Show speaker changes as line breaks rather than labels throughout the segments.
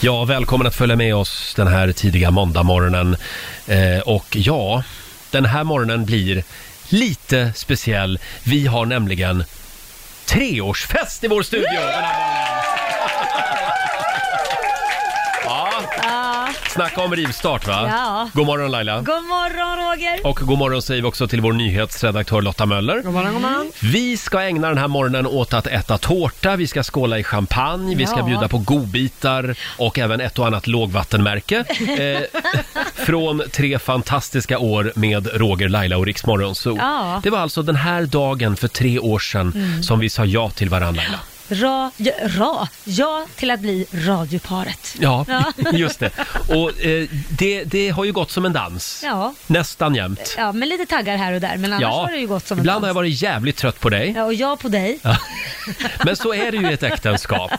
Ja, välkommen att följa med oss den här tidiga måndagmorgonen. Eh, och ja, den här morgonen blir lite speciell. Vi har nämligen treårsfest i vår studio! den här morgonen. Ja,
Ja.
snacka om rivstart va?
Ja.
God morgon Laila!
God morgon Roger!
Och god morgon säger vi också till vår nyhetsredaktör Lotta Möller.
God morgon, god morgon.
Vi ska ägna den här morgonen åt att äta tårta, vi ska skåla i champagne, vi ska
Ja.
bjuda på godbitar och även ett och annat lågvattenmärke. Eh, från tre fantastiska år med Roger, Laila och Riksmorgon. Så
Ja. Mm.
Det var alltså den här dagen för tre år sedan som vi sa ja till varandra. Laila.
Ra, ja, ra, ja till att bli radioparet.
Ja, just det. Och eh, det, det har ju gått som en dans.
Ja.
Nästan jämt.
ja, men lite taggar här och där, men annars har det ju gått som en
ibland
dans.
har jag varit jävligt trött på dig.
Ja, och jag på dig.
Men så är det ju i ett äktenskap.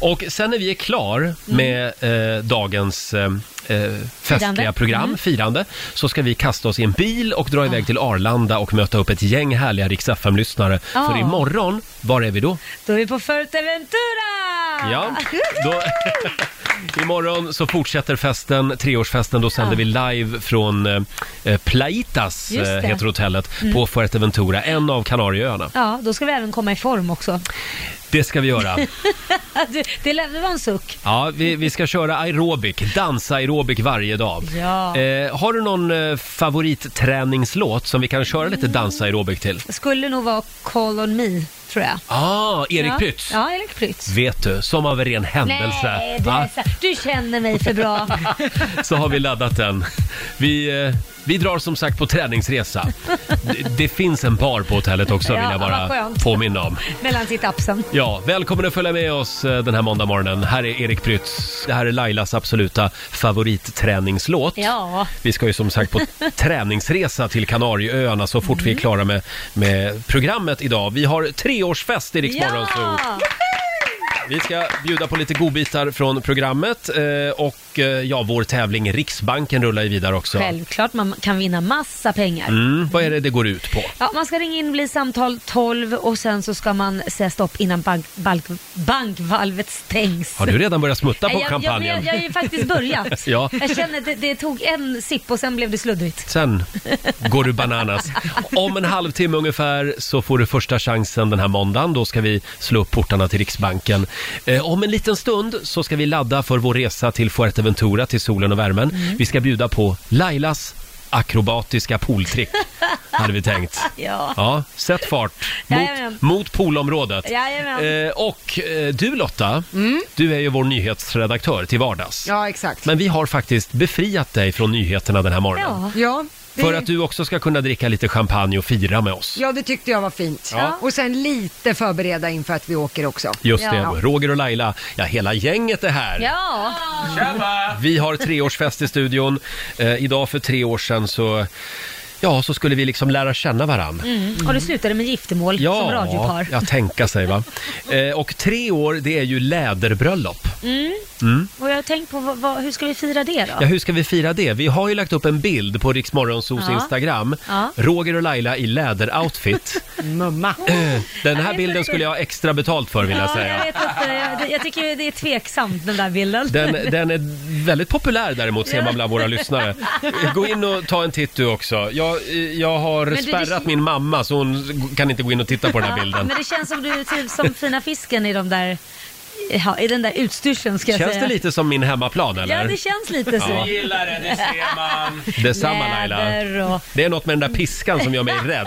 Och sen när vi är
Mm.
klar med eh, dagens eh, eh, festliga
Firande.
program,
Mm. Ah.
firande, så ska vi kasta oss i en bil och dra iväg till Arlanda och möta upp ett gäng härliga Rix FM-lyssnare.
Ja.
För imorgon, var är vi då?
Då är vi på Fuerteventura!
Ja, då, imorgon så fortsätter festen, treårsfesten. Då sänder vi live från eh, Plaitas,
Ah. Just
eh,
det. Mm. Ah.
heter hotellet, på Fuerteventura, en av Kanarieöarna.
Ja, då ska vi även komma i form också.
Det ska vi göra.
Du, Det lä- det var en suck.
Ja, vi, vi ska köra aerobic, dansaerobic varje dag.
Ja.
Eh, har du någon eh, favoritträningslåt som vi kan köra lite
Mm.
dansaerobic till?
Skulle nog vara Call on me, tror jag.
Ah, Erik
ja.
Prytz!
Ja, Erik Prytz.
Vet du, som av en ren händelse
Nej, det
va?
är så. du känner mig för bra.
så har vi laddat den. Vi, eh, vi drar som sagt på träningsresa. Det, det finns en bar på hotellet också
Ja,
vill jag
vad
bara
skönt.
påminna om.
Mellan sitt apsen.
Ja, välkommen att följa med oss eh, den här måndagmorgonen. Här är Erik Prytz. Det här är Lailas absoluta favoritträningslåt.
Ja.
Vi ska ju som sagt på träningsresa till Kanarieöarna så fort
Mm.
vi är klara med, med programmet idag. Vi har treårsfest i Rix Morgonzoo.
Ja!
Vi ska bjuda på lite godbitar från programmet eh, och eh, ja, vår tävling Riksbanken rullar ju vidare också.
Självklart, man kan vinna massa pengar.
Mm, vad är det det går ut på?
Ja, man ska ringa in och bli samtal 12 och sen så ska man säga stopp innan bank, bank, bankvalvet stängs.
Har du redan börjat smutta på
Nej, jag, jag,
kampanjen?
jag, jag har ju faktiskt börjat.
Ja.
Jag känner att det, det tog en sipp och sen blev det sluddrigt.
Sen går du bananas. Om en halvtimme ungefär så får du första chansen den här måndagen. Då ska vi slå upp portarna till Riksbanken. Eh, om en liten stund så ska vi ladda för vår resa till Fuerteventura, till solen och värmen.
Mm.
Vi ska bjuda på Lailas akrobatiska pooltrick, hade vi tänkt.
Ja.
Ja, sätt fart
Jajamän.
mot, mot poolområdet.
Jajamän. Mm.
Eh, och eh, du Lotta, du är ju vår nyhetsredaktör till vardags.
Ja, exakt.
Men vi har faktiskt befriat dig från nyheterna den här morgonen.
Ja.
Ja, det,
För att du också ska kunna dricka lite champagne och fira med oss.
ja, det tyckte jag var fint.
Ja.
Och sen lite förbereda inför att vi åker också.
Just
Ja.
det, Roger och Laila, ja hela gänget är här.
Ja,
Vi har treårsfest i studion. Eh, idag för tre år sedan så, ja, så skulle vi liksom lära känna varann.
mm. och det slutade med giftermål som
Ja,
radiopar.
ja, tänka sig va. Eh, och tre år, det är ju läderbröllop.
Mm.
Mm.
Och jag har tänkt på, vad, vad, hur ska vi fira det då?
Ja, hur ska vi fira det? Vi har ju lagt upp en bild på Riksmorgonsos
Ja.
Instagram.
Ja.
Roger och Laila i läderoutfit.
Mumma.
Den
Jag
här
vet
bilden
inte.
skulle jag ha extra betalt för vill jag
Ja,
säga.
jag vet inte. Jag, det- jag tycker ju det är tveksamt den där bilden.
Den, den är väldigt populär däremot ser man bland våra lyssnare. Gå in och ta en titt du också. Jag, eh, jag har
du, det-
spärrat min mamma så hon kan inte gå in och titta på den här bilden.
Men det känns som du är typ som fina fisken i de där, ja, i den där utstyrseln ska jag
Känns
säga.
det lite som min hemmaplan
Ja,
eller?
det känns lite så.
Ja.
gillar det, det ser man.
Detsamma Laila.
Läder och...
Det är något med den där piskan som gör mig rädd.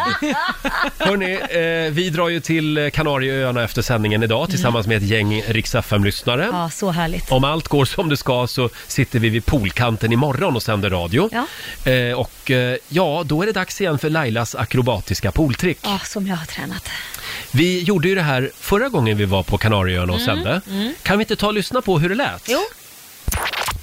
Hörni, eh, vi drar ju till Kanarieöarna efter sändningen idag tillsammans med ett gäng Rix lyssnare
Ja, så härligt.
Om allt går som det ska så sitter vi vid poolkanten imorgon och sänder radio.
Ja.
Eh, och eh, ja, då är det dags igen för Lailas akrobatiska pooltrick.
Ja, som jag har tränat.
Vi gjorde ju det här förra gången vi var på Kanarieöarna och sände. Kan vi inte ta och lyssna på hur det lät?
Mm, Jo.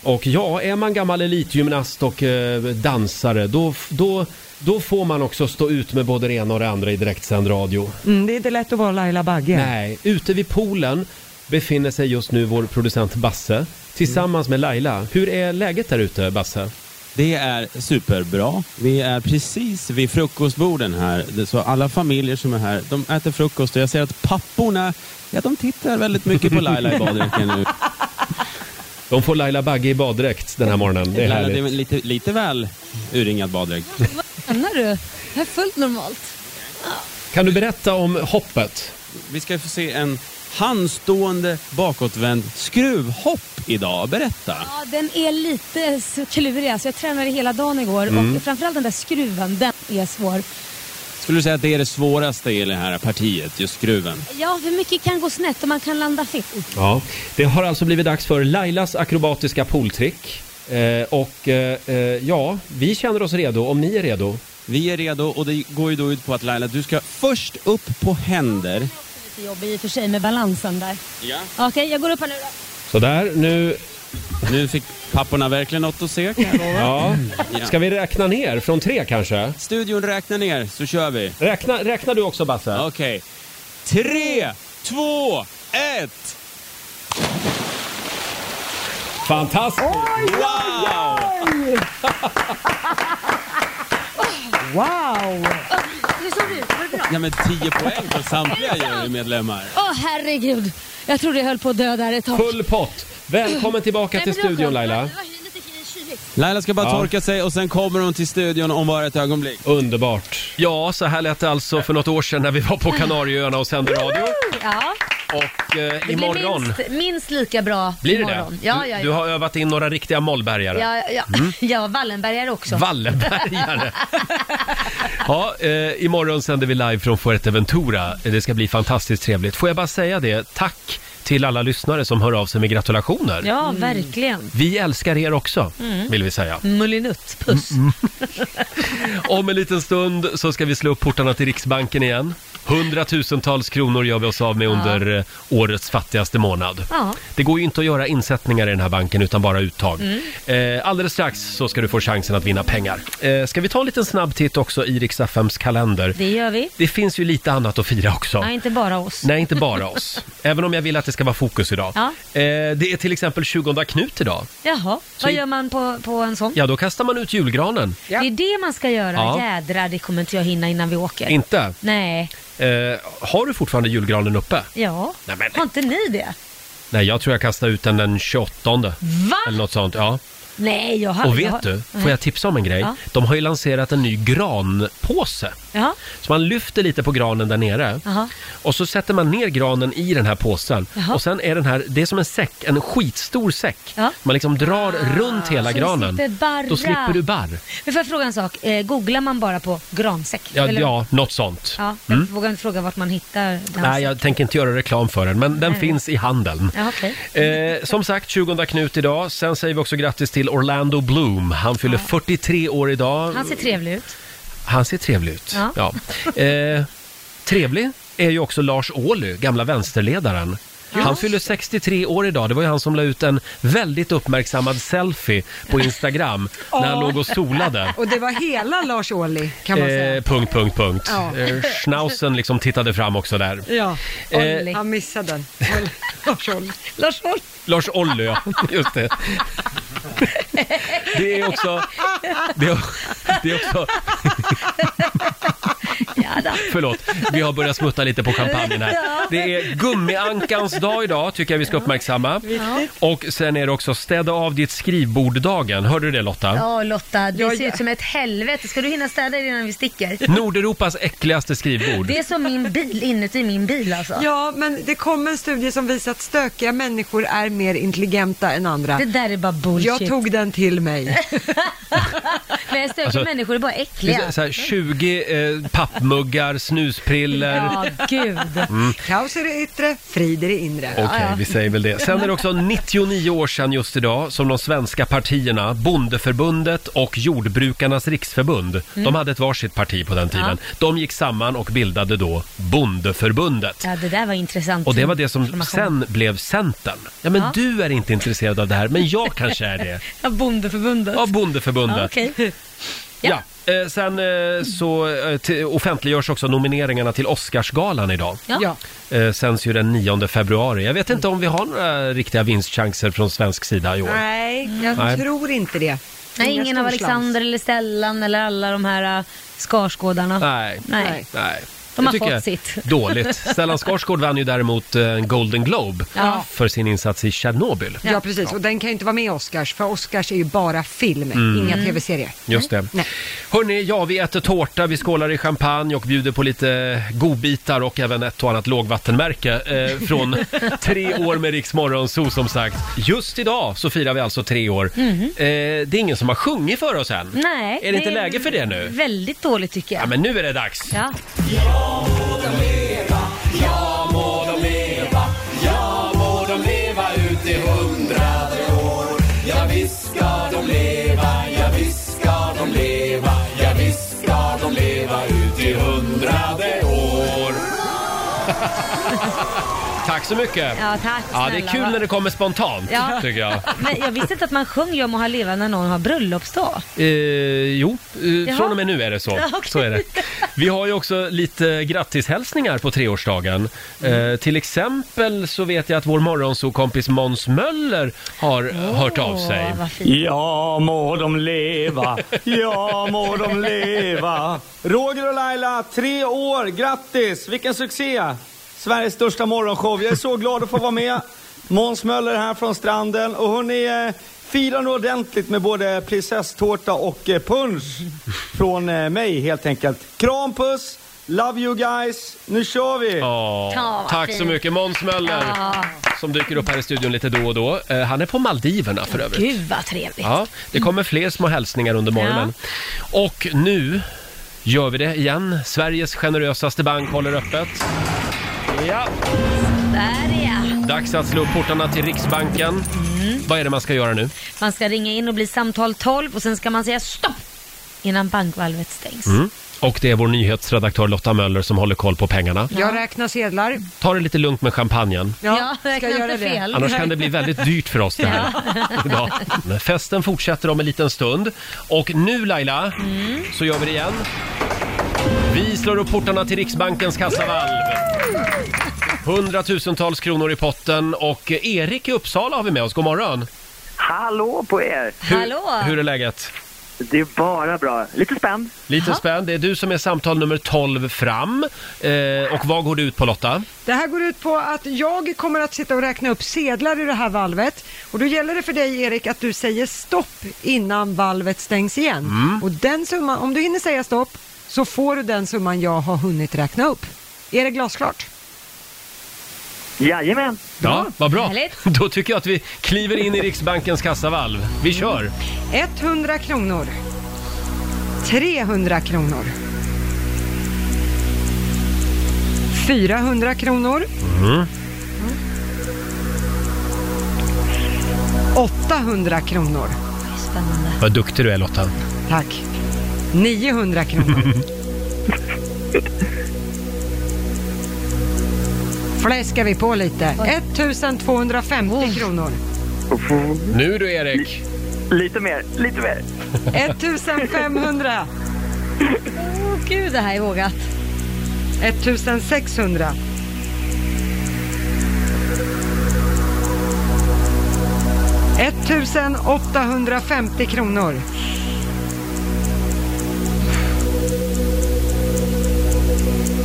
Och ja, är man gammal elitgymnast och eh, dansare, då, då, då får man också stå ut med både det ena och det andra i direktsänd radio.
Mm, det är inte lätt att vara Laila Bagge.
Nej, ute vid poolen befinner sig just nu vår producent Basse tillsammans med Laila. Hur är läget där ute, Basse?
Det är superbra. Vi är precis vid frukostborden här. Det- Så alla familjer som är här, de äter frukost och jag ser att papporna, ja de tittar väldigt mycket på Laila i baddräkten nu.
De får Laila Bagge i baddräkt den här morgonen. Det är
Laila, det är
härligt.
lite, lite väl urringad baddräkt.
Menar du? Det här är fullt normalt.
Kan du berätta om hoppet?
Vi ska få se en handstående bakåtvänd skruvhopp idag. Berätta.
Ja, den är lite så klurig. Alltså, jag tränade hela dagen igår
Mm.
och framförallt den där skruven, den är svår.
Skulle du säga att det är det svåraste i det här partiet, just skruven?
Ja, för mycket kan gå snett och man kan landa fel.
Ja. Det har alltså blivit dags för Lailas akrobatiska pooltrick. Eh, och eh, eh, ja, vi känner oss redo om ni är redo.
Vi är redo och det går ju då ut på att Laila, du ska först upp på händer.
Lite jobb i och för sig med balansen där.
Ja.
Okej, jag går upp här nu då.
Sådär, nu...
Nu fick papporna verkligen något att se kan jag lova.
Ja. Ska vi räkna ner från tre kanske?
Studion räknar ner så kör vi.
Räkna, räkna du också Basse.
Okej. Tre, två, ett!
Fantastiskt!
Wow!
Wow!
Hur såg du ut? Var det bra?
Ja men 10 poäng för samtliga jurymedlemmar.
Åh herregud! Jag trodde jag höll på att dö där ett tag.
Full pott! Välkommen tillbaka
Nej,
till
men det var
studion
skönt.
Laila.
Det var lite kyligt.
Laila ska bara
Ja.
torka sig och sen kommer hon till studion om bara ett ögonblick.
Underbart. Ja, så här lät det alltså för något år sedan när vi var på Kanarieöarna och sände radio.
Ja,
Och eh,
det blir
imorgon
minst, minst lika bra
blir det
imorgon.
det.
Ja,
Du-
ja,
Du
ja.
har övat in några riktiga mollbergare.
Ja, ja, ja, Wallenbergare också.
Wallenbergare. ja, eh, imorgon sänder vi live från Fuerteventura. Det ska bli fantastiskt trevligt. Får jag bara säga det, tack till alla lyssnare som hör av sig med gratulationer. Mm.
ja, verkligen. Mm.
Vi älskar er också, vill vi säga.
Mullinutt, puss.
Mm, Om en liten stund så ska vi slå upp portarna till Riksbanken igen. Hundratusentals kronor gör vi oss av med under eh, årets fattigaste månad.
Ja.
Det går ju inte att göra insättningar i den här banken utan bara uttag.
Mm.
Eh, alldeles strax så ska du få chansen att vinna pengar. Eh, ska vi ta en liten snabb titt också i Rix FMs kalender?
Det gör vi.
Det finns ju lite annat att fira också.
Nej, inte bara oss.
Nej, inte bara oss. Även om jag vill att det ska vara fokus idag.
Ja.
Eh, det är till exempel 20 Knut idag.
Jaha, vad gör man på, på en sån?
Ja, då kastar man ut julgranen.
Ja.
Det är det man ska göra.
Ja.
Jädrar, det kommer inte jag hinna innan vi åker.
Inte?
Nej,
Eh, har du fortfarande julgranen uppe?
ja.
Nej, men-
Har inte ni det?
Nej, jag tror jag kastade ut den den 28.
Va?
Eller något sånt, ja.
Nej, jag har...
Och
jag
vet
har...
du, får jag tipsa om en grej?
Ja.
De har ju lanserat en ny granpåse.
Ja.
Så man lyfter lite på granen där nere
Jaha.
och så sätter man ner granen i den här påsen.
Jaha.
Och sen är den här, det är som en säck, en skitstor säck.
Ja.
Man liksom drar runt hela
Ah, så det
granen.
slipper barra.
Då slipper du barr.
Men får jag fråga en sak? Eh, googlar man bara på gransäck?
Ja,
Eller-
ja något sånt.
ja jag vågar inte fråga vart man hittar den.
Nej, jag tänker inte göra reklam för den, men den finns i handeln.
Ja, okej.
Eh, som sagt, 20 Knut idag. Sen säger vi också grattis till Orlando Bloom. Han fyller 43 år idag.
Han ser trevlig ut.
Han ser trevlig ut. Ja.
Ja.
Eh, trevlig är ju också Lars Ohly, gamla vänsterledaren. Han fyller 63 år idag. Det var ju han som la ut en väldigt uppmärksammad selfie på Instagram när han låg och solade.
Och det var hela Lars Ohly kan man
Eh,
säga.
punkt, punkt, punkt.
Ja.
Eh, Schnauzen liksom tittade fram också där.
Ja,
eh,
Olli.
han missade den. Lars Ohly.
Lars Holm.
Lars Ohly, ja. Just det. Det är också... Det är, det är också...
Ja, då.
Förlåt, vi har börjat smutta lite på champagnen här. Det är gummiankans dag idag, tycker jag vi ska uppmärksamma. Och sen är det också städa av ditt skrivbord-dagen. Hörde du det Lotta?
Ja, Lotta, det
Ja,
ser
ja.
ut som ett helvete. Ska du hinna städa det innan vi sticker?
Nordeuropas äckligaste skrivbord.
Det är som min bil, inuti min bil alltså.
Ja, men det kom en studie som visar att stökiga människor är mer intelligenta än andra.
Det där är bara bullshit.
Jag tog den till mig.
Men stökiga
Alltså-
människor är bara
Det
äckliga.
är så här 20 eh, pappmuggar, Mm. snuspiller.
Ja, gud.
Kaos är det yttre, frid är det inre.
Okej, vi säger väl det. Sen är det också 99 år sedan just idag som de svenska partierna, Bondeförbundet och Jordbrukarnas riksförbund,
Mm.
de hade ett varsitt parti på den tiden. De gick samman och bildade då Bondeförbundet.
Ja, det där var intressant.
Och det var det som
information.
sen blev Centern. Ja, men
Ja.
du är inte intresserad av det här, men jag kanske är det.
Ja, Bondeförbundet.
Av Bondeförbundet.
Ja, okej.
ja. Eh, sen eh, så eh, till- offentliggörs också nomineringarna till Oscarsgalan idag.
Ja.
Ja.
Eh, sänds ju den 9 februari. Jag vet inte om vi har några riktiga vinstchanser från svensk sida i år.
Nej, jag
Nej.
tror inte det.
Nej,
Inga
ingen av
storslams.
Alexander eller Stellan eller alla de här äh, Skarsgårdarna.
Nej.
Nej.
Nej.
Nej.
De
Det
har
tycker
fått
jag är
sitt.
Dåligt. Stellan Skarsgård vann ju däremot eh, en Golden Globe
Ja.
för sin insats i Tjernobyl.
Ja, precis. Och den kan ju inte vara med i Oscars, för Oscars är ju bara film, inga tv-serier.
Mm. Just det.
Nej.
Hörni, ja vi äter tårta, vi skålar i champagne och bjuder på lite godbitar och även ett och annat lågvattenmärke eh, från tre år med Rix Morgonzoo som sagt. Just idag så firar vi alltså tre år.
Mm. Mhm.
Eh, det är ingen som har sjungit för oss än.
Nej.
Är det inte läge för det nu?
Väldigt dåligt tycker jag.
Ja, men nu är det dags.
Ja.
Tack så mycket.
Ja, tack
Ja, det är
snälla,
kul
va?
när det kommer spontant,
Ja.
tycker jag.
Men jag visste inte att man sjunger om att ha leva när någon har bröllopsdag.
Eh, jo, eh,
Jaha.
från och med nu är det så.
Ja, okej.
så är det. Vi har ju också lite grattishälsningar på treårsdagen. Eh,
Mm.
till exempel så vet jag att vår morgonsokompis Måns Möller har hört av sig.
Åh, vad fint.
Ja må de leva, ja må de leva.
Roger och Laila, tre år, grattis! Vilken succé! Sveriges största morgonshow. Jag är så glad att få vara med. Måns Möller här från stranden. Och hörni, eh, fira nu ordentligt med både prinsesstårta och eh, punsch från eh, mig helt enkelt. Kram, puss! Love you guys! Nu kör vi!
Ja,
Ja, vad
tack så
fint.
mycket Måns Möller
Ja.
som dyker upp här i studion lite då och då. Eh, han är på Maldiverna för övrigt.
Gud vad trevligt.
Ja, det kommer fler små hälsningar under morgonen. Och nu gör vi det igen. Sveriges generösaste bank håller öppet. Ja.
Där ja.
Dags att slå upp portarna till Riksbanken. Vad är det man ska göra nu?
Man ska ringa in och bli samtal 12 och sen ska man säga stopp innan bankvalvet stängs.
Mm. Och det är vår nyhetsredaktör Lotta Möller som håller koll på pengarna.
Mm.
Jag räknar sedlar.
Ta det lite lugnt med champagnen.
Ja,
ska
räkna
jag
inte
göra det?
fel.
Annars kan det bli väldigt dyrt för oss det här. idag. Men Festen fortsätter om en liten stund. Och nu Laila, så gör vi det igen. Vi slår upp portarna till Riksbankens kassavalv. Hundratusentals kronor i potten och eh, Erik i Uppsala har vi med oss. God morgon!
Hallå på er!
Hallå!
Hur, hur är läget?
Det är bara bra. Lite spänd.
Lite spänd. Det är du som är samtal nummer 12 fram. Eh, och vad går det ut på Lotta?
Det här går ut på att jag kommer att sitta och räkna upp sedlar i det här valvet och då gäller det för dig Erik att du säger stopp innan valvet stängs igen. Och den summan, om du hinner säga stopp så får du den summan jag har hunnit räkna upp. Är det glasklart?
Jajamän!
Ja, vad bra.
Härligt.
Då tycker jag att vi kliver in i Riksbankens kassavalv. Vi kör!
100 kronor. 300 kronor. 400 kronor.
Mhm.
800 kronor.
Spännande.
Vad duktig du är Lotta.
Tack. 900 kronor. Fläskar vi på lite. 1250 kronor.
Nu du Erik!
Lite mer, lite mer.
1500.
Åh, gud, det här är vågat.
1600. 1850 kronor.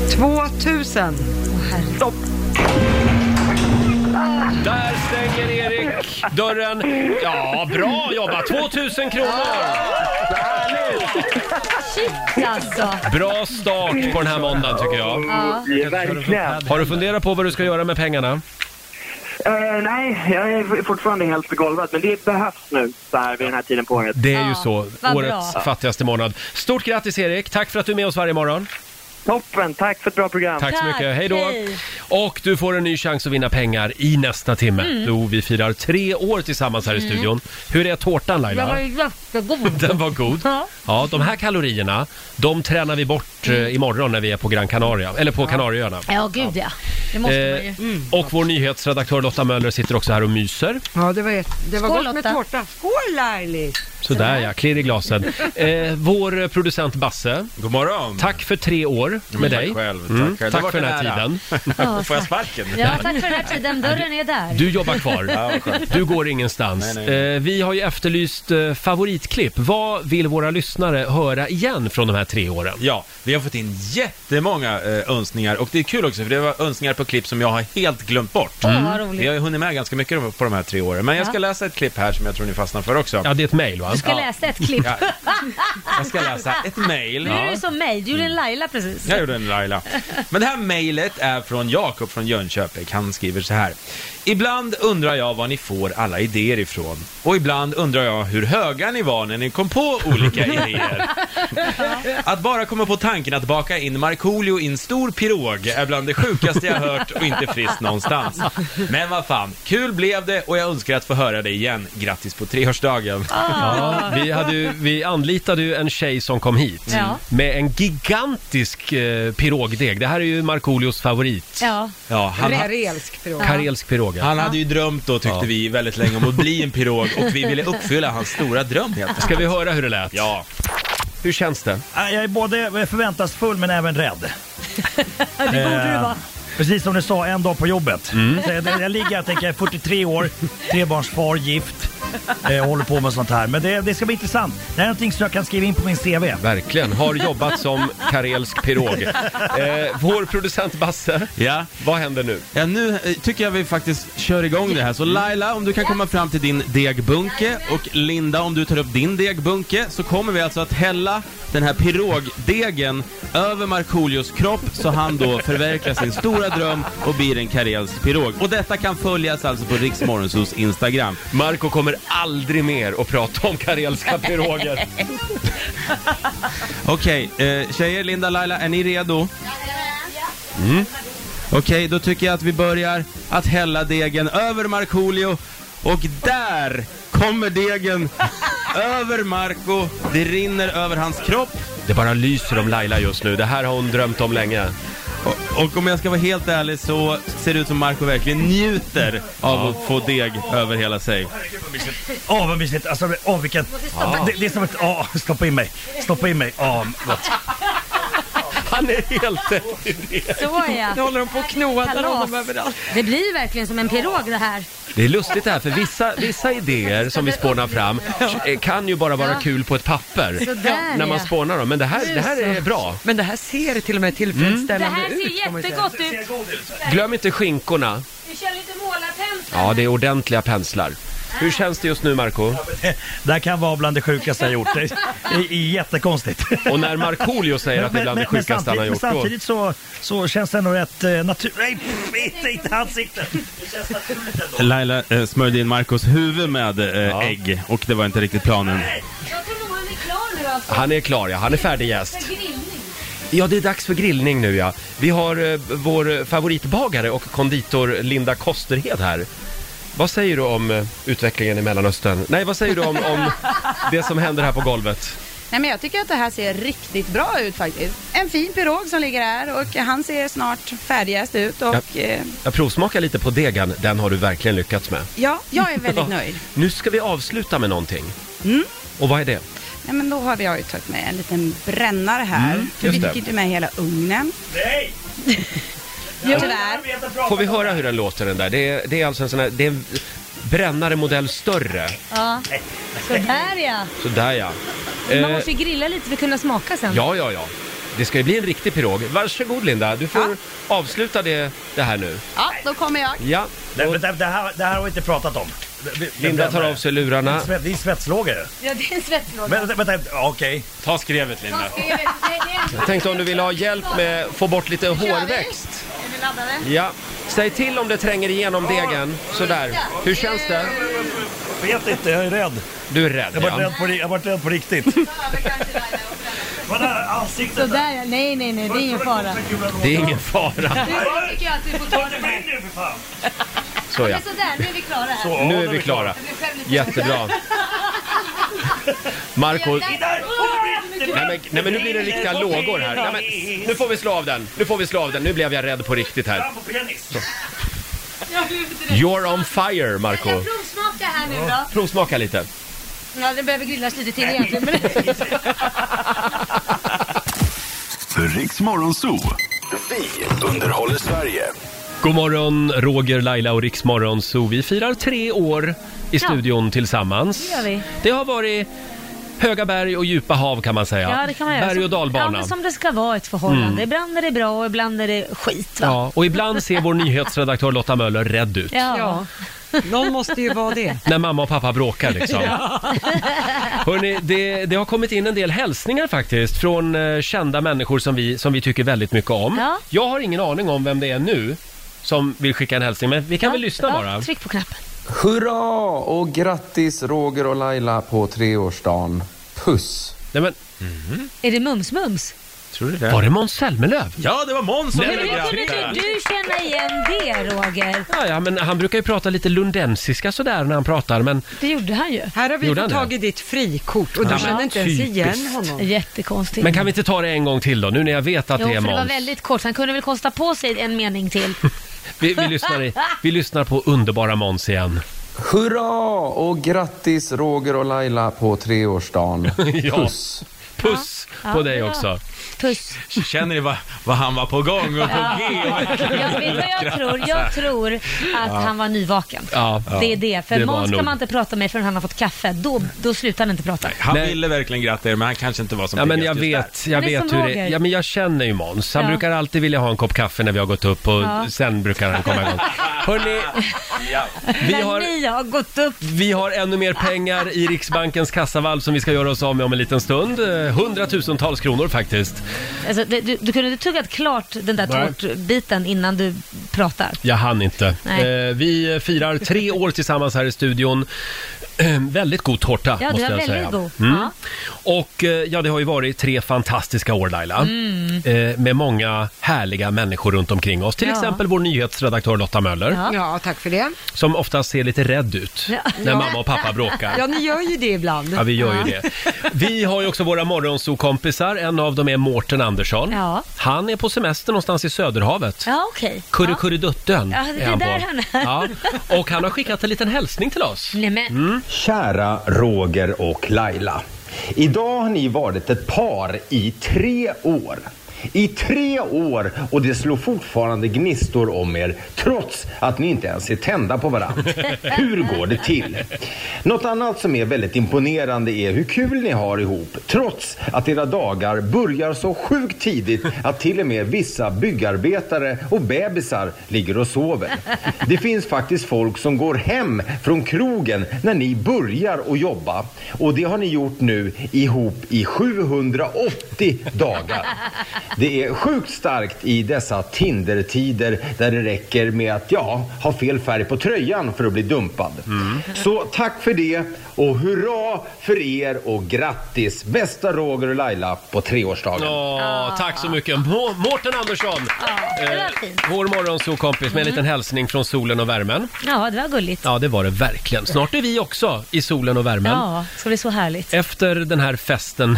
2000.
Där stänger Erik dörren. Ja, bra jobbat! 2000 kronor!
Shit alltså.
Bra start på den här måndagen tycker jag.
Ja.
Ja, verkligen.
Har du funderat på vad du ska göra med pengarna?
Eh, nej, jag är fortfarande helt golvad, men det behövs nu så här vid den här tiden på året.
Det är ju
Ja,
så.
vad
Årets
bra.
fattigaste månad. Stort grattis Erik! Tack för att du är med oss varje morgon.
Toppen! Tack för ett bra program.
Tack så
Tack,
mycket, hej då!
hej.
Och du får en ny chans att vinna pengar i nästa timme.
Mm.
Jo, vi firar tre år tillsammans här i studion. Hur är tårtan
Den Mm. var
Laila?
ju jättegod.
Den var god.
Ja. Mm.
Ja, de här kalorierna, de tränar vi bort eh, imorgon när vi är på Gran Canaria, eller på Kanarieöarna.
Ja, gud ja. Det måste man ju.
Eh, och vår nyhetsredaktör Lotta Möller sitter också här och myser.
Ja, det var, det var
Skål,
gott med
Lotta.
tårta. Skål Laili!
Sådär ja, klirr i glasen. Eh, vår producent Basse,
God morgon.
tack för tre år
Ja,
med
men
dig.
Tack själv.
Mm,
Tack, själv. Det
tack
var
för den
en
här
ära.
tiden.
Ja,
Får jag
tack.
sparken?
Ja, tack för den här tiden. Dörren är där.
Du jobbar kvar.
Ja, vad skönt.
Du går ingenstans.
Nej, nej.
Eh, vi har ju efterlyst eh, favoritklipp. Vad vill våra lyssnare höra igen från de här tre åren?
Ja, vi har fått in jättemånga eh, önskningar och det är kul också för det var önskningar på klipp som jag har helt glömt bort.
Mm. vad roligt.
Vi har ju hunnit med ganska mycket på de här tre åren, men jag ska
Ja.
läsa ett klipp här som jag tror ni fastnar för också.
Ja, det är ett mejl va?
Du ska läsa ett klipp.
Ja. Jag ska läsa ett mejl.
Nu är du som mig. Du gjorde
Mm.
en Laila precis.
Jag gjorde en Laila. Men det här mejlet är från Jakob från Jönköping. Han skriver så här. Ibland undrar jag var ni får alla idéer ifrån. Och ibland undrar jag hur höga ni var när ni kom på olika idéer. Att bara komma på tanken att baka in Markoolio i en stor pirog är bland det sjukaste jag hört och inte friskt någonstans. Men vad fan, kul blev det och jag önskar att få höra det igen. Grattis på treårsdagen.
Ah.
Ja, vi, hade, ju- vi anlitade ju en tjej som kom hit
Ja.
med en gigantisk eh, pirogdeg. Det här är ju Markoolios favorit.
Ja.
Ja, han,
Karelsk pirog.
Karelsk pirog. ja.
Han hade ju drömt då tyckte
Ja.
vi väldigt länge om att bli en pirog och vi ville uppfylla hans stora dröm helt enkelt.
Ska vi höra hur det lät?
Ja.
Hur känns det?
Ja, Jag är både förväntansfull men även rädd. Eh,
Det borde
Eh,
du vara.
Precis som du sa, en dag på jobbet. Så jag, jag ligger jag tänker, jag är 43 år, trebarnsfar, gift, eh, håller på med sånt här. Men det, det ska bli intressant. Det här är någonting som jag kan skriva in på min CV.
Verkligen. Har jobbat som karelsk pirog. Eh, vår producent Basse,
Ja.
vad händer nu? Mm.
ja, nu eh, tycker jag vi faktiskt kör igång det här. Så Laila, om du kan komma fram till din degbunke och Linda, om du tar upp din degbunke så kommer vi alltså att hälla den här pirogdegen över Markoolios kropp så han då förverkligar sin stora dröm och blir en karelsk pirog. Och detta kan följas alltså på Riksmorgonsos Instagram.
Marco kommer aldrig mer att prata om karelska piroger.
Okej, eh, tjejer, Linda, Laila, är ni redo? Mm. Okej, då tycker jag att vi börjar att hälla degen över Markoolio och där kommer degen över Marco. Det rinner över hans kropp
Det bara lyser om Laila just nu. Det här har hon drömt om länge.
och, och om jag ska vara helt ärlig så ser det ut som Marco verkligen njuter av att få deg över hela sig.
Åh vad mysigt. Alltså, åh vilken... Det, det är som ett... Åh, stoppa in mig. Stoppa in mig. Åh, gott.
Han är helt...
Så
Nu
ja.
håller de på och knoar honom
Kalas.
överallt.
Det blir ju verkligen som en pirog det här.
Det är lustigt det här, för vissa, vissa idéer som vi spånar fram eh, kan ju bara vara
Ja.
kul på ett papper.
Sådär
När man
ja.
spånar dem. Men det här, det här är bra.
Men det här ser till och med
Det
tillfredsställande
här
ut.
ser
får man ju säga.
jättegott ut.
Glöm inte skinkorna.
Du kör lite målarpensel.
Ja, det är ordentliga penslar. Hur känns det just nu, Marco?
Det här kan vara bland det sjukaste jag gjort. Det är, det är jättekonstigt.
Och när Markoolio säger att det är bland det sjukaste han har
men
gjort, då...
samtidigt så, så känns det ändå rätt eh, naturligt. Nej, pff, inte, inte ansiktet! Det känns naturligt ändå.
Laila eh, smörjde in Marcos huvud med eh, ägg och det var inte riktigt planen.
Mm. Jag tror nog han är klar nu alltså.
Han är klar, ja. Han är färdigjäst.
Grillning.
Ja, det är dags för grillning nu, ja. Vi har eh, vår eh, favoritbagare och konditor Linda Kosterhed här. Vad säger du om eh, utvecklingen i Mellanöstern? Nej, vad säger du om, om det som händer här på golvet?
Nej, men jag tycker att det här ser riktigt bra ut faktiskt. En fin pirog som ligger här och han ser snart färdigast ut och eh, ja,
Jag provsmakar lite på degen, den har du verkligen lyckats med.
ja jag är väldigt nöjd.
Nu ska vi avsluta med någonting.
Mm.
Och vad är det?
Nej, men då har vi- jag har ju tagit med en liten brännare här. för vi
Mm, just det.
fick inte med hela ugnen.
Nej!
Tyvärr.
Får vi höra hur den låter den där? Det är, det är alltså en sån här, det är en brännare modell större.
Ja. Sådär ja.
Sådär ja.
Man
Eh,
måste ju grilla lite för att kunna smaka sen.
ja, ja, ja. Det ska ju bli en riktig pirog. Varsågod Linda, du får avsluta det, det här nu.
Ja, då kommer jag.
Ja,
Nej, men det, det, här, det här har vi inte pratat om. Det- det-
Linda
det-
tar av sig lurarna.
Det är en svetslåga ju.
Ja, det är en svettlåda.
Vänta, vänta, vänta, ja, okej.
Ta skrevet Linda.
Jag tänkte om du vill ha hjälp med att få bort lite hårväxt.
Är ni laddade?
Ja. Säg till om det tränger igenom degen. Sådär. Hur känns det?
Vet inte, jag är rädd.
Du är rädd
Jag har varit,
ja.
rädd, på, ri- jag har varit rädd på riktigt. Vad är det här ansiktet?
Sådär ja. Nej, nej, nej. Det är ingen fara.
Det är ingen fara.
Nu tycker jag att vi får ta det här.
nu för fan!
Så ja.
Sådär, nu är vi klara här.
Så,
Nu
ja,
är vi klara.
Jag blev själv lite-
Jättebra. Marco,
Där! Åh, det blir-
Nej men, nej men nu blir det riktiga lågor här. Nej, men, nu får vi slå av den. Nu får vi slå av den. Nu blev jag rädd på riktigt här.
Fram på penis.
Jag blev lite rädd.
You're on fire, Marco.
Jag provsmakar här nu då.
Provsmaka lite.
Ja, den behöver grillas lite till egentligen. Men...
Riks Morgonzoo. Vi underhåller Sverige.
God morgon, Roger, Laila och Riksmorgon. Så vi firar tre år i
Ja.
studion tillsammans.
Det gör vi.
Det har varit höga berg och djupa hav kan man säga.
Ja, det kan man göra.
Berg och
Ja,
dalbana.
men som det ska vara i ett förhållande.
Mm.
Ibland är det bra och ibland är det skit. Va?
Ja, och ibland ser vår nyhetsredaktör Lotta Möller rädd ut.
Ja.
Någon måste ju vara det.
När mamma och pappa bråkar liksom.
Ja.
Hörrni, det, det har kommit in en del hälsningar faktiskt från eh, kända människor som vi, som vi tycker väldigt mycket om.
Ja.
Jag har ingen aning om vem det är nu som vill skicka en hälsning, men vi kan väl lyssna
Ja,
bara.
Tryck på knappen.
Hurra och grattis Roger och Laila på treårsdagen. Puss!
Nej, men...
Mhm,
Är det mums-mums?
Tror du det? Var det Måns Zelmerlöw?
Ja, det var Måns
Men hur kunde inte du känna igen det, Roger?
Ja, ja, men han brukar ju prata lite lundensiska sådär när han pratar, men
Det gjorde han ju.
Här har vi
Gjorde
fått
han det?
tag i ditt frikort
Ja,
och du
men
känner inte ens
typiskt.
igen honom.
Jättekonstigt.
Men kan vi inte ta det en gång till då, nu när jag vet att
jo,
det är
för det var
Måns?
väldigt kort. Han kunde väl kosta på sig en mening till.
Vi, vi, lyssnar i, vi lyssnar på underbara Måns igen.
Hurra och grattis Roger och Laila på treårsdagen.
Ja.
Puss!
Puss
Ja, på dig bra. också. Puss.
Känner ni vad, vad han var på gång och på
Ja.
G?
Jag Alltså, vet vad jag tror. Jag tror att han var nyvaken.
Ja.
Det är det. För
Det var
Måns
nog.
kan man inte prata med förrän han har fått kaffe. Då, då slutar han inte prata.
Han ville verkligen gratta er, men han kanske inte var som
Ja, men
piggast
jag
just
vet,
där.
jag
Han är
vet
som
hur det
Roger.
Ja, men jag känner ju Måns. Han
Ja.
brukar alltid vilja ha en kopp kaffe när vi har gått upp och
Ja.
sen brukar han komma igång. Hörrni, vi
När
har,
ni har gått upp.
vi har ännu mer pengar i Riksbankens kassavalv som vi ska göra oss av med om en liten stund. Eh, Hundratusentals kronor faktiskt.
Alltså, det, du, du kunde inte tuggat klart den där
Nej.
tårtbiten innan du pratar.
Jag hann inte.
Nej.
Eh, vi firar tre år tillsammans här i studion. Eh, väldigt god tårta,
Ja, det
måste
var
jag
väldigt
säga. Mm.
god. Ja.
Och eh, ja, det har ju varit tre fantastiska år, Laila.
Mm.
Eh, med många härliga människor runt omkring oss. Till
Ja.
exempel vår nyhetsredaktör Lotta Möller,
Ja, tack för det.
som ofta ser lite rädd ut
Ja.
när
Ja.
mamma och pappa bråkar.
Ja, ni gör ju det ibland.
Ja, vi gör ju det. Vi har ju också våra morgonsokompisar. En av dem är Mårten Andersson.
Ja.
Han är på semester någonstans i Söderhavet.
Ja, okej. Ja.
Kurrekurreduttön
Ja, det är
han
där
på.
han är.
Ja. Och han har skickat en liten hälsning till oss.
Nej, men.
Mm. Kära Roger och Laila. Idag har ni varit ett par i tre år. I tre år och det slår fortfarande gnistor om er trots att ni inte ens är tända på varandra. Hur går det till? Något annat som är väldigt imponerande är hur kul ni har ihop trots att era dagar börjar så sjukt tidigt att till och med vissa byggarbetare och bebisar ligger och sover. Det finns faktiskt folk som går hem från krogen när ni börjar att jobba och det har ni gjort nu ihop i 780 dagar. Det är sjukt starkt i dessa Tinder-tider där det räcker med att ja, ha fel färg på tröjan för att bli dumpad. Så tack för det och hurra för er och grattis bästa Roger och Laila på treårsdagen.
Åh, tack så mycket. Må- Mårten Andersson, Eh,
det var fint. Mm.
vår morgonsokompis med en liten hälsning från solen och värmen.
Ja, det var gulligt.
Ja, det var det verkligen. Snart är vi också i solen och värmen.
Ja, så det är så härligt.
Efter den här festen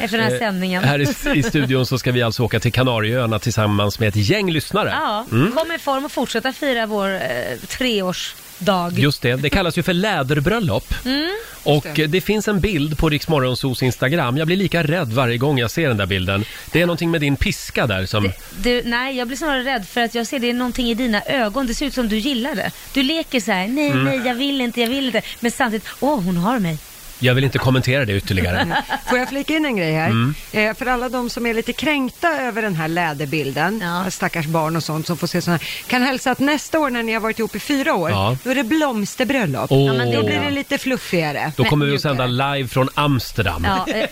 Efter den här
eh,
sändningen.
här i, i studion så ska vi alltså åka till Kanarieöarna tillsammans med ett gäng lyssnare.
Ja,
Mm.
kom i form och fortsätta fira vår eh, treårsdag.
Just det, det kallas ju för läderbröllop.
Mm.
Och eh, det. det finns en bild på Rix Morgonzos Instagram. Jag blir lika rädd varje gång jag ser den där bilden. Det är någonting med din piska där som...
Du, nej, jag blir snarare rädd för att jag ser det är någonting i dina ögon. Det ser ut som du gillar det. Du leker så här, nej,
Mm.
nej, jag vill inte, jag vill inte. Men samtidigt, åh, hon har mig.
Jag vill inte kommentera det ytterligare.
Får jag flika in en grej här?
Mm.
Eh, för alla de som är lite kränkta över den här läderbilden, eh, stackars barn och sånt som får se sådana här, kan hälsa att nästa år när ni har varit ihop i fyra år,
Ja.
då är det blomsterbröllop.
Åh. Ja, men det-
Då blir det lite fluffigare.
Då kommer vi att sända live från Amsterdam.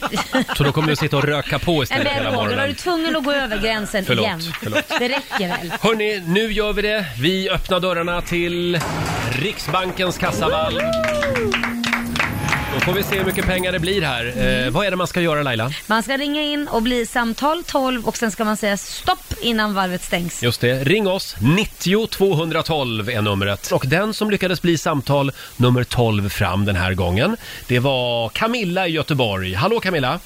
Så då kommer vi att sitta och röka på
eh. Nej,
istället
men
hela
Roger, var du
morgonen.
tvungen att gå över gränsen
Förlåt,
igen?
förlåt.
Det räcker väl?
Hörni, nu gör vi det. Vi öppnar dörrarna till Riksbankens kassavalv. Då får vi se hur mycket pengar det blir här. Eh, vad är det man ska göra Laila?
Man ska ringa in och bli samtal 12 och sen ska man säga stopp innan valvet stängs.
Just det, ring oss. 90 212 är numret. Och den som lyckades bli samtal nummer 12 fram den här gången, det var Camilla i Göteborg. Hallå Camilla!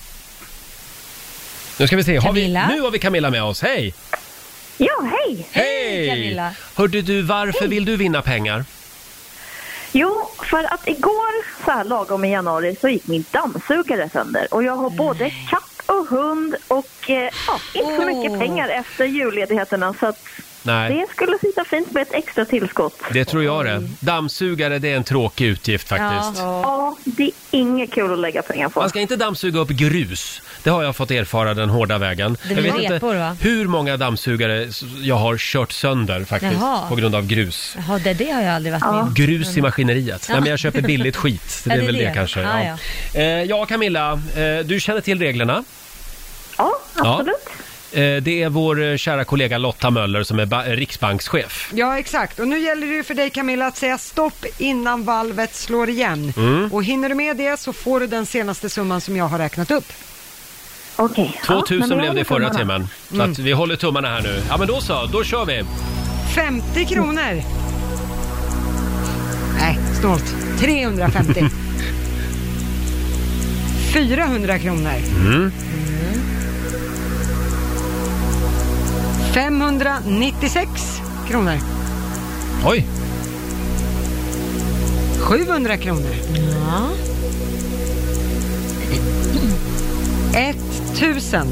Nu ska vi se, har vi,
Camilla?
nu har vi Camilla med oss. Hej!
Ja, hej!
Hej! Hörde du, varför vill du vinna pengar?
Jo, för att igår så här lagom i januari så gick min dammsugare sönder och jag har både katt och hund och eh, ja, inte så mycket pengar efter julledigheterna så att
Nej,
det skulle sitta fint med ett extra tillskott.
det tror jag det. Dammsugare, det är en tråkig utgift faktiskt.
Ja, det är inget kul att lägga pengar på.
Man ska inte dammsuga upp grus. Det har jag fått erfara den hårda vägen.
Det
jag
blir
vet
repor,
inte
va?
hur många dammsugare s- jag har kört sönder faktiskt
Jaha.
på grund av grus.
Jaha, det, det har jag aldrig varit med om.
Grus i maskineriet.
Ja.
Nej, men jag köper billigt skit. så Det är
Ja, det är
väl det,
det.
kanske.
Ah,
Ja. Eh, ja, Camilla, eh, du känner till reglerna.
Ja,
absolut. Det är vår eh, kära kollega Lotta Möller som är ba- eh, riksbankschef.
Ja, exakt. Och nu gäller det ju för dig Camilla att säga stopp innan valvet slår igen.
Mm.
Och hinner du med det så får du den senaste summan som jag har räknat upp.
Okej.
2000 blev det i förra timmen. Så
Mm.
att vi håller tummarna här nu. Ja, men då så, då kör vi.
50 kronor. Nej, snålt. 350. 400 kronor.
Mm.
596 kronor.
Oj!
700 kronor. Ja. 1000.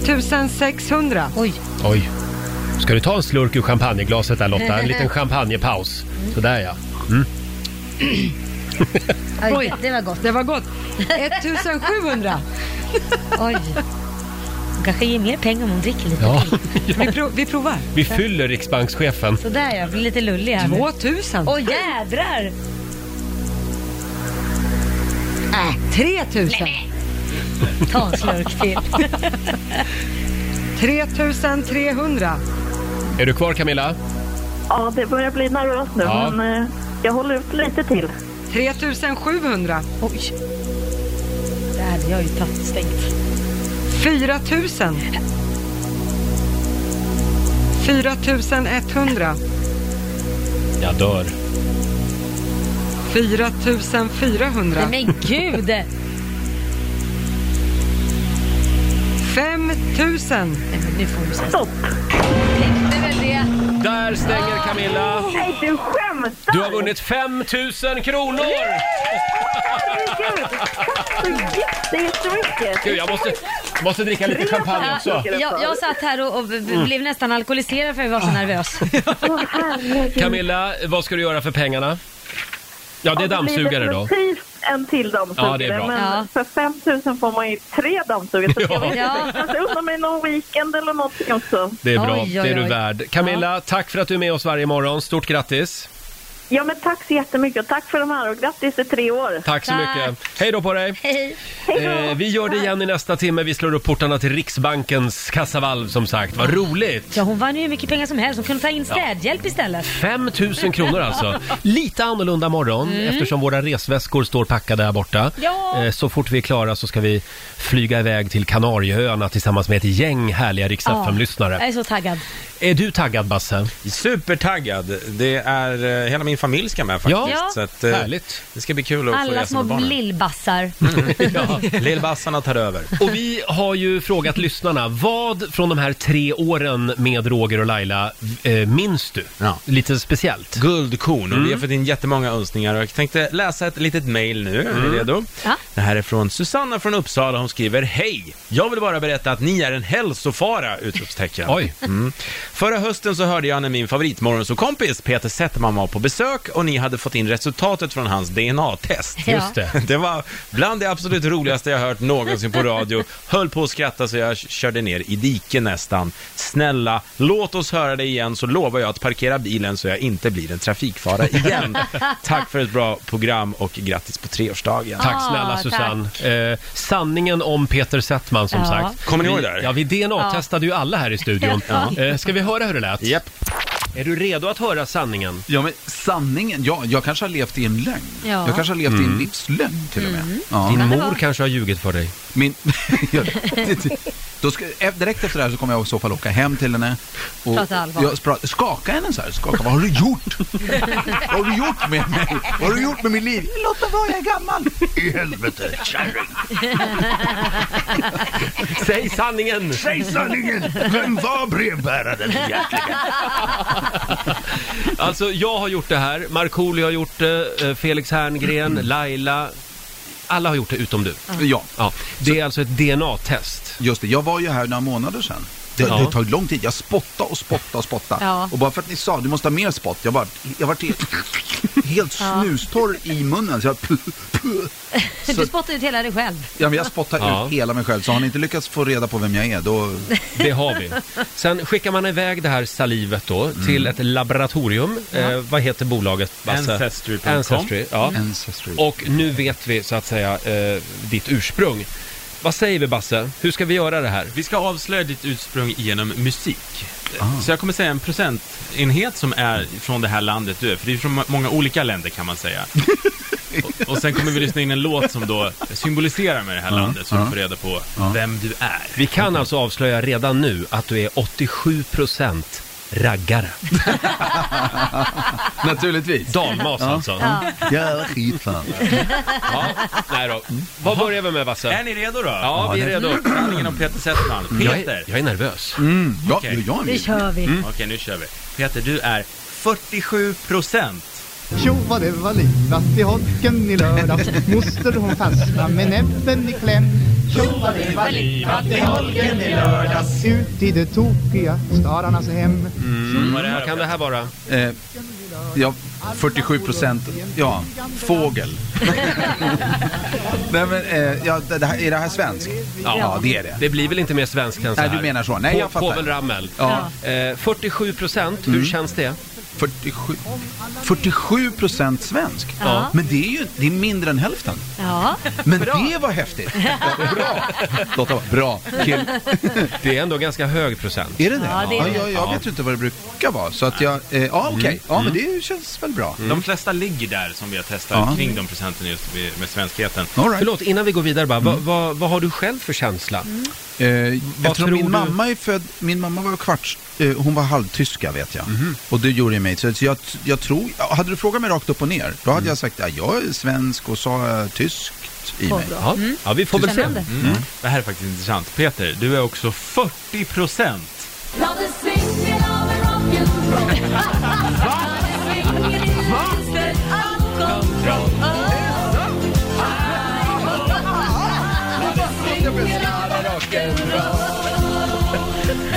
1600.
Oj.
Oj. Ska du ta en slurk ur champagneglaset där Lotta? En liten champagnepaus. Sådär ja. Mm.
Oj, det var gott.
Det var gott. 1700.
Oj. Hon kanske ger mer pengar om hon dricker lite.
Ja.
Vi, pro- vi provar.
Vi fyller riksbankschefen.
Sådär jag blir lite lullig här nu.
2000.
Åh jädrar!
Äh, 3000.
Ta en slurk till.
3300.
Är du kvar Camilla?
Ja, det börjar bli nervöst nu,
Ja.
men eh, jag håller ut lite till.
3700.
Oj. Det hade jag ju tagit stängt.
4000. 4100.
Jag dör.
4400.
Nej, men gud!
5000.
Nu får du
Stopp.
Det är väl det.
Där stänger Camilla.
Nej, du skämtar!
Du har vunnit 5000 kronor!
Herregud, tack så jätte- jättemycket!
Gud, jag måste, måste dricka lite champagne också. Mm.
Jag, jag satt här och, och b- b- blev nästan alkoholiserad för jag var
Ah.
så nervös.
Camilla, vad ska du göra för pengarna? Ja, det är dammsugare då.
definitivt en till dammsugare,
Ja, det är bra.
men
Ja.
för 5 000 får man ju tre dammsugare. Så
Ja.
Alltså, jag vet
Ja.
inte, kanske unna mig någon weekend eller någonting också.
Det är bra, det är du värd. Camilla, tack för att du är med oss varje morgon. Stort grattis!
Ja, men tack så jättemycket och tack för de här och grattis till tre år.
Tack så mycket. Hej då på dig!
Hej.
Eh, vi gör det igen i nästa timme. Vi slår upp portarna till Riksbankens kassavalv som sagt. Vad roligt!
Ja, hon vann ju hur mycket pengar som helst. Hon kunde ta in städhjälp istället.
5 000 kronor alltså. Lite annorlunda morgon
Mm.
eftersom våra resväskor står packade här borta.
Ja.
Eh, Så fort vi är klara så ska vi flyga iväg till Kanarieöarna tillsammans med ett gäng härliga Rix lyssnare
jag är så taggad.
Är du taggad Basse?
Supertaggad. Det är, eh, hela min familj ska med faktiskt.
Ja.
så att, eh,
Härligt.
Det ska bli kul att få
Alla
resa
små
med barnen.
lillbassar.
Mm.
ja. Lill-Bassarna tar över.
Och vi har ju frågat lyssnarna, vad från de här tre åren med Roger och Laila eh, minns du? Lite speciellt.
Guldkorn. Och vi har
Mm.
fått in jättemånga önskningar och jag tänkte läsa ett litet mail nu. Är
Mm.
ni redo?
Ja.
Det här är från Susanna från Uppsala. Hon skriver Hej! Jag vill bara berätta att ni är en hälsofara! Utropstecken.
Oj.
Mm. Förra hösten så hörde jag när min favoritmorgonsåkompis Peter Settman var på besök och ni hade fått in resultatet från hans DNA-test.
Ja. Just det.
Det var bland det absolut roligaste jag hört någonsin på radio. Höll på att skratta så jag körde ner i diken nästan. Snälla, låt oss höra det igen så lovar jag att parkera bilen så jag inte blir en trafikfara igen. Tack för ett bra program och grattis på treårsdagen.
Tack snälla Susanne. Eh, sanningen om Peter Settman som
Ja.
sagt.
Kommer ni ihåg
Vi-
det här?
Ja, vi DNA-testade ju alla här i studion.
Ja.
Eh, ska vi höra hur det lät?
Yep.
Är du redo att höra sanningen?
Ja, men sanningen. Ja, jag kanske har levt i en lögn.
Ja.
Jag kanske har levt i
Mm.
en
Mm.
livslögn till och med.
Din
Ja.
mor kanske har ljugit för dig.
Min... Ja, det, det, Då ska, e- direkt efter det här så kommer jag i så fall åka hem till henne. Och
Prata allvar.
Jag spra- skaka henne så här. Skaka, vad har du gjort? vad har du gjort med mig? Vad har du gjort med mitt liv? Låt mig vara, jag är gammal. I helvete, kärring.
Säg sanningen!
Säg sanningen! Vem var brevbäraren egentligen?
Alltså, jag har gjort det här. Markoolio har gjort det. eh, Felix Herngren, Laila. Alla har gjort det utom du.
Ja.
ja. Det är alltså ett DNA-test.
Just det, jag var ju här några månader sedan. Det,
Ja.
det tar ju lång tid. Jag spottade och spottade och spottade.
Ja.
Och bara för att ni sa du måste ha mer spott. Jag var, jag var helt, helt snustorr i munnen. Så jag,
Du spottar ut hela dig själv.
ja, men jag spottade
Ja.
ut hela mig själv. Så har ni inte lyckats få reda på vem jag är, då...
Det har vi. Sen skickar man iväg det här salivet då
Mm.
till ett laboratorium. Eh, vad heter bolaget? Basse?
Ancestry.com.
Ancestry, ja.
Mm.
Och nu vet vi så att säga eh, ditt ursprung. Vad säger vi Basse? Hur ska vi göra det här? Ah.
Vi ska avslöja ditt ursprung genom musik. Så jag kommer säga en procentenhet som är från det här landet du är, för det är från ma- många olika länder kan man säga. och, och sen kommer vi lyssna in en låt som då symboliserar med det här
Ja,
landet, så
ja.
du får reda på
Ah.
vem du är.
Vi kan alltså avslöja redan nu att du är 87% raggare.
Naturligtvis.
Dalmas alltså.
Jävla skit fan.
Nej då. Vad börjar vi med Basse?
Är ni redo då?
Mm. Ja, vi är redo.
Sanningen om Peter Settman.
Jag
Peter!
är, jag är nervös.
Mm. Ja,
Okej.
jag
Det kör vi. Mm.
Okej, nu kör vi. Peter, du är 47 procent.
Tjo vad det var livat i holken i lördags Moster hon fastnade med näbben i kläm Tjo vad det var livat i holken i lördags Ut i det tokiga stararnas hem
Mm. Vad kan det här vara?
Eh, ja, 47 procent. Ja, fågel. Nej, men, eh, ja, det det här, är det här svenskt? Ja. det är det.
Det blir väl inte mer svenskt än så
Nej,
här?
du menar så. Nej,
På-
jag fattar.
Povel Ramel.
Ja.
Eh, 47 procent, hur
Mm.
känns det?
47, 47 procent svensk?
Ja.
Men det är ju det är mindre än hälften.
Ja.
Men det var häftigt! Bra! Lotta var bra kill.
Det är ändå ganska hög procent.
Är det det?
Ja, det är det.
jag, jag vet ju inte vad det brukar vara, så att jag... Eh, ja, okej.
Mm.
Ja, men
Mm.
det känns väl bra.
De flesta ligger där som vi har testat,
Ja.
kring de procenten just med, med svenskheten.
Förlåt, innan vi går vidare bara.
Mm.
Vad, vad, vad har du själv för känsla?
Mm.
Eh, jag
Vad
tror
tror
min
du?
mamma är född, min mamma var kvarts, eh, hon var halvtyska vet jag. Och det gjorde ju mig, så, så jag, jag tror, ja, hade du frågat mig rakt upp och ner, då hade jag sagt ja, jag är svensk och sa eh, tyskt i
Vad
mig.
bra. Ja. Mm.
Ja, vi
får väl se. Spännande.
Mm. Det här är faktiskt intressant. Peter, du är också 40 procent.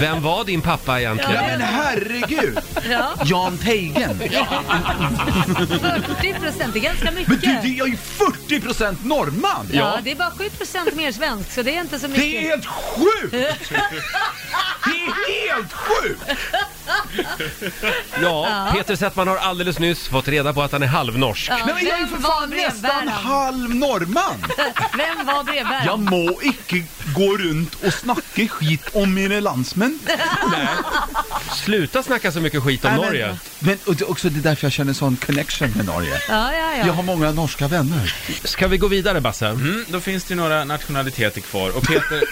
Vem var din pappa egentligen?
Ja, men herregud!
Ja.
Jan Teigen!
40 procent, det är ganska
Men du,
mycket.
det- jag är ju 40 procent norrman!
Ja, det är bara 7 procent mer svensk, så det är inte så mycket.
Det är helt sjukt! Det är helt sjukt!
Ja, Peter Settman har alldeles nyss fått reda på att han är halvnorsk.
Ja,
Nej, men jag är ju
vem
för
var
fan nästan
brevbäraren?
halv norrman!
Vem var brevbäraren?
Jag må icke gå runt och snacka skit om mina landsmän.
Sluta snacka så mycket skit om
Nej,
Norge.
Men, men och det, också det är därför jag känner sån connection med Norge.
Ja, ja, ja.
Jag har många norska vänner.
Ska vi gå vidare Basse?
Mm, då finns det några nationaliteter kvar. Och Peter,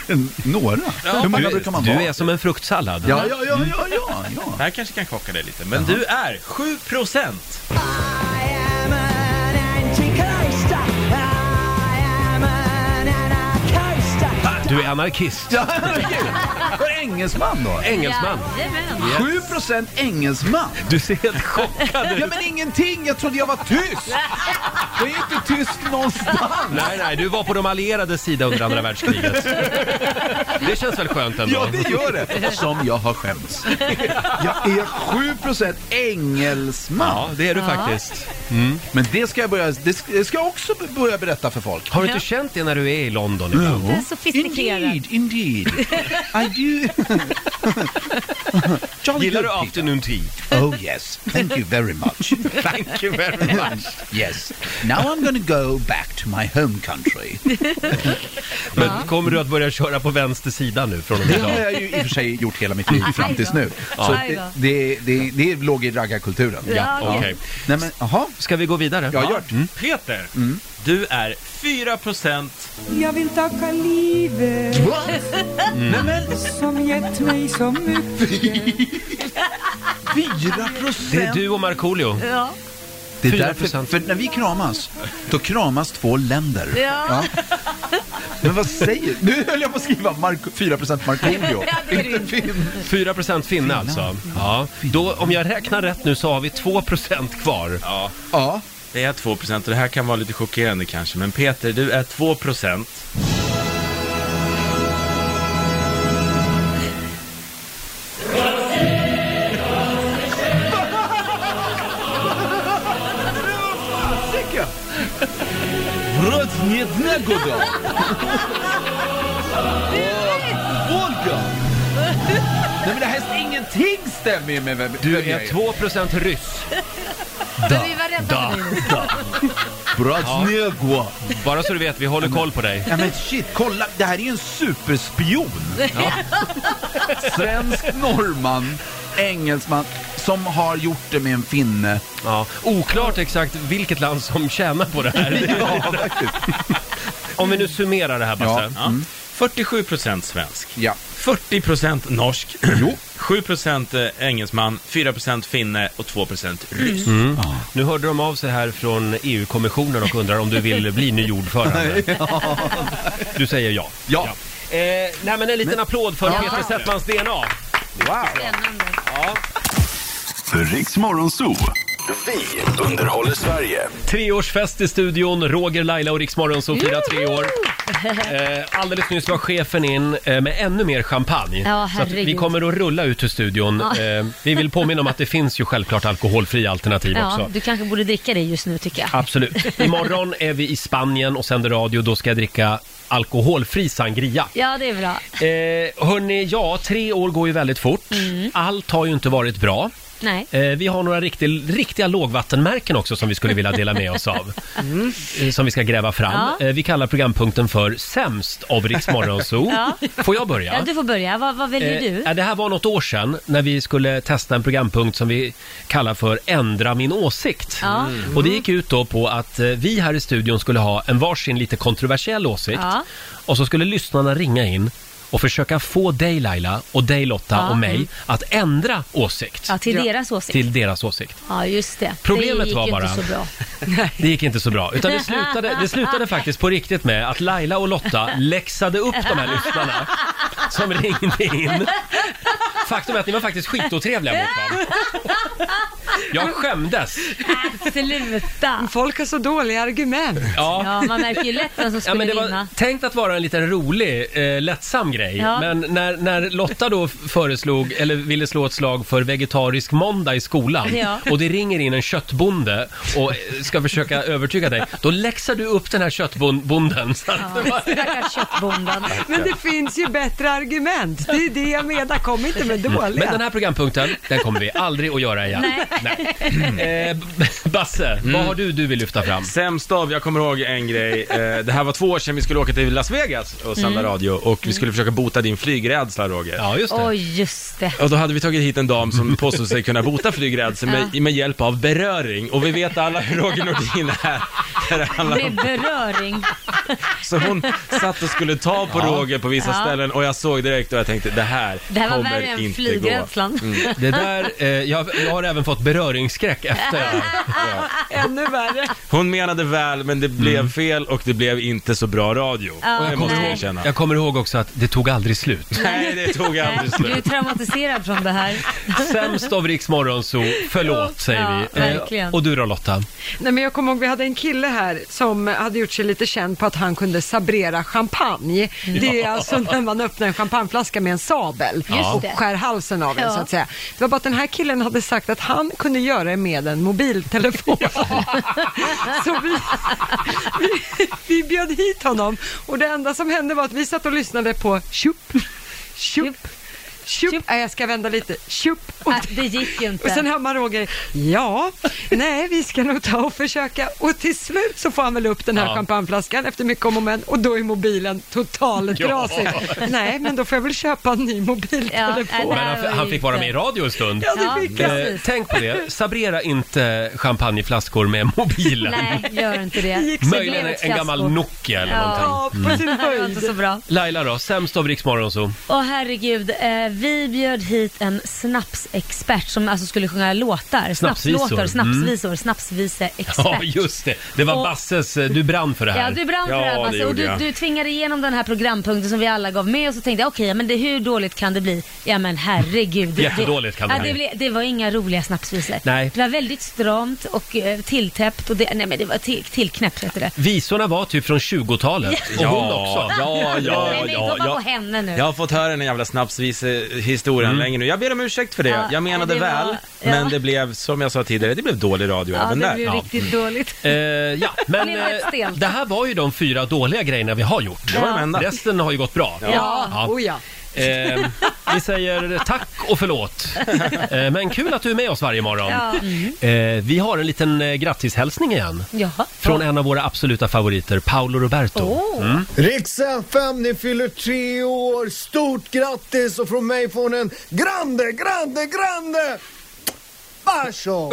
Några? Hur många
du,
brukar man
du
vara?
är som en fruktsallad.
Ja, ja, ja, ja, ja, ja.
det här kanske kan chocka dig lite, men du är 7 procent.
Ah!
Du är anarkist.
Ja, herregud. Var det engelsman då?
Engelsman.
Jajamän.
7% engelsman?
Du ser helt chockad
Ja
ut.
men ingenting, jag trodde jag var tyst! Jag är inte tyst någonstans!
Nej, nej, du var på de allierades sida under andra världskriget. Det känns väl skönt ändå?
Ja det gör det! Som jag har skämts. Jag är 7% engelsman!
Ja, det är du faktiskt.
Mm. Men det ska jag börja, det ska, det ska jag också b- börja berätta för folk. Mm.
Har du inte känt det när du är i London ibland?
Det är sofistikerad.
Indeed, indeed. I you. Jolly
Gillar
good,
du
Peter.
afternoon tea?
Oh yes, thank you very much.
Thank you very much.
yes, now I'm going to go back to my home country.
Men kommer du att börja köra på vänster sida nu från och med
Det
idag?
har jag ju i och för sig gjort hela mitt liv fram tills nu.
Ja.
Så
Aj
det, det, det, det låg i raggarkulturen.
Ja, okej.
Nej, men, aha.
Ska vi gå vidare?
Ja, Mm.
Ja.
gör det.
Peter, du är 4%
Jag vill tacka livet
Mm.
som gett mig så mycket.
Fyra
Det är du och Markoolio.
Ja.
Det är
4%.
därför, för när vi kramas, då kramas två länder.
Ja.
Men vad säger Nu höll jag på att skriva Marco, 4% Markoolio. Inte Finn.
4% finne alltså. Ja. Då, om jag räknar rätt nu så har vi 2% kvar.
Ja.
ja.
Det är 2% och det här kan vara lite chockerande kanske, men Peter, du är 2%.
Fasiken! Wrot nie jednego go! Volga! Nej men det här ingenting stämmer ju med vem
Du
vem jag
är 2% ryss.
Men vi var rädda
Da,
för dig.
da. Bratsnegua.
Bara så du vet, vi håller koll på dig.
Ja men shit, kolla! Det här är ju en superspion! Svensk norrman, engelsman, som har gjort det med en finne.
Ja. Oklart exakt vilket land som tjänar på det här.
Ja, faktiskt.
Om vi nu summerar det här Basse.
Ja.
Mm.
47% svensk.
Ja.
40% norsk. 7% engelsman, 4% finne och 2% ryss.
Mm. Nu hörde de av sig här från EU-kommissionen och undrar om du vill bli ny ordförande. Du säger ja.
Ja.
Eh, nej men en liten applåd för Peter Settmans DNA.
Wow.
För Riks Morgonzoo. Vi underhåller Sverige.
Treårsfest i studion, Roger, Laila och Riksmorgon som firar tre år. Eh, alldeles nyss var chefen in eh, med ännu mer champagne.
Ja,
så att vi
herregud.
kommer att rulla ut ur studion.
Ja.
Eh, vi vill påminna om att det finns ju självklart alkoholfria alternativ
Ja,
också.
du kanske borde dricka det just nu tycker jag.
Absolut. Imorgon är vi i Spanien och sänder radio. Då ska jag dricka alkoholfri sangria.
Ja, det är bra.
Eh, hörni, ja, tre år går ju väldigt fort.
Mm.
Allt har ju inte varit bra.
Nej.
Eh, vi har några riktiga, riktiga lågvattenmärken också som vi skulle vilja dela med oss av.
Mm.
Eh, Som vi ska gräva fram.
Ja.
Eh, vi kallar programpunkten för Sämst av Rix Morgonzoo.
Ja.
Får jag börja?
Ja, du får börja. Vad, vad väljer
Eh,
du?
ja, det här var något år sedan när vi skulle testa en programpunkt som vi kallar för Ändra min åsikt.
Ja. Mm.
Och det gick ut då på att eh, vi här i studion skulle ha en varsin lite kontroversiell åsikt
Ja.
och så skulle lyssnarna ringa in och försöka få dig Laila och dig Lotta
Ja.
och mig
Mm.
att ändra åsikt.
Ja, till deras åsikt.
Till deras åsikt.
Ja, just det.
Problemet
det gick
var
ju
bara-
inte så bra.
Det gick inte så bra. Utan det slutade, det slutade faktiskt på riktigt med att Laila och Lotta läxade upp de här lyssnarna som ringde in. Faktum är att ni var faktiskt skitotrevliga mot varandra. Jag skämdes.
Sluta!
Folk har så dåliga argument.
Ja, man märker ju lätt vem som
Ja,
skulle
men det var
vinna.
tänkt att vara en liten rolig, eh, lättsam grej.
Ja.
Men när, när Lotta då f- föreslog, eller ville slå ett slag för vegetarisk måndag i skolan
Ja.
och det ringer in en köttbonde och eh, ska försöka övertyga dig, då läxar du upp den här köttbonden. Så att det var...
Ja, stackars köttbonden.
Men det finns ju bättre argument. Det är det jag menar. Kom inte med
Mm. Men
dåliga.
den här programpunkten, den kommer vi aldrig att göra igen. Nej. Eh, B- Basse, vad har du du vill lyfta fram?
Mm. Sämst av, jag kommer ihåg en grej. Eh, Det här var två år sedan vi skulle åka till Las Vegas och sända
Mm.
radio och vi skulle försöka bota din flygrädsla Roger.
Ja, just
Oj, just det.
Och då hade vi tagit hit en dam som påstod sig kunna bota flygrädsla med, med hjälp av beröring. Och vi vet alla hur Roger Nordin är. när det handlar
Det är
om-
beröring.
Så hon satt och skulle ta på
Ja.
Roger på vissa
Ja.
ställen och jag såg direkt och jag tänkte det här,
Det här var
kommer
värre än
inte
flygrädslan.
gå. Mm.
Det där, eh, jag, jag har även fått beröringsskräck efter.
Ännu värre.
Hon menade väl men det blev
Mm.
fel och det blev inte så bra radio.
Ja,
det måste jag
nej.
erkänna.
Jag kommer ihåg också att det tog aldrig slut.
Nej, det tog aldrig
Du är
slut.
traumatiserad från det här.
Sämst av Riks Morgonzoo, förlåt säger
Ja,
vi. Eh,
verkligen.
Och du då Lotta?
Nej, men jag kommer ihåg, vi hade en kille här som hade gjort sig lite känd på att han kunde sabrera champagne. Det är
Ja.
alltså när man öppnar en champagneflaska med en sabel
Just
och
det.
skär halsen av den
Ja.
så att säga. Det var bara att den här killen hade sagt att han kunde göra det med en mobiltelefon. så vi, vi, vi bjöd hit honom och det enda som hände var att vi satt och lyssnade på Tjup, tjup, tjup. Nej, jag ska vända lite. Tjup. Och,
det gick ju inte.
Och sen hör man Roger, ja, nej, vi ska nog ta och försöka. Och till slut så får han väl upp den här
Ja.
champagneflaskan efter mycket om och men och då är mobilen totaltrasig.
Ja.
Nej, men då får jag väl köpa en ny mobiltelefon.
Men han, han fick vara med i radio en stund.
Ja, det fick han.
Eh, tänk på det, sabrera inte champagneflaskor med mobilen.
Nej, gör inte det.
Möjligen en gammal Nokia eller
Ja,
någonting. Mm.
det var inte så bra.
Laila då, sämst av Rix Morgonzoo.
Och herregud, eh, vi bjöd hit en snapsexpert som alltså skulle sjunga låtar.
Snapsvisor.
Snapslåtar,
Mm.
snapsvisor, snapsviseexpert.
Ja, just det. Det var
Och-
Basses, eh, du brann för det här.
Ja, du brann för det här Basse, och
gjorde
du,
jag.
du tvingade igenom den här programpunkten som vi alla gav med och så tänkte jag okej, men det, hur dåligt kan det bli? Ja men herregud. Det-
Jättedåligt kan det
ja,
bli.
det, blev- det var inga roliga snapsvisor.
Nej.
Det var väldigt stramt och eh, tilltäppt och det, nej men det var till, tillknäppt heter det.
Visorna var typ från 20-talet.
Ja.
Och hon också.
Ja, ja,
nej, nej,
ja,
hoppa
ja.
på henne nu.
Jag har fått höra den här jävla snapsvis-historien
Mm.
länge nu. Jag ber om ursäkt för det.
Ja,
jag menade
det var-
väl,
ja.
men det blev, som jag sa tidigare, det blev dålig radio
Ja,
även
det
där.
blev riktigt dåligt.
Eh, ja, men
Det blev rätt
eh,
stelt.
det här var ju de fyra dåliga grejerna vi har gjort.
Det var de Ja. enda.
Resten har ju gått bra.
Ja. Ja. Oh, ja.
Eh, vi säger tack och förlåt. Eh, men kul att du är med oss varje morgon.
Ja. Mm.
Eh, vi har en liten eh, grattishälsning igen.
Jaha.
Från en av våra absoluta favoriter, Paolo Roberto.
Oh.
Mm.
Riks FM, ni fyller tre år. Stort grattis och från mig får ni en grande, grande, grande Varså!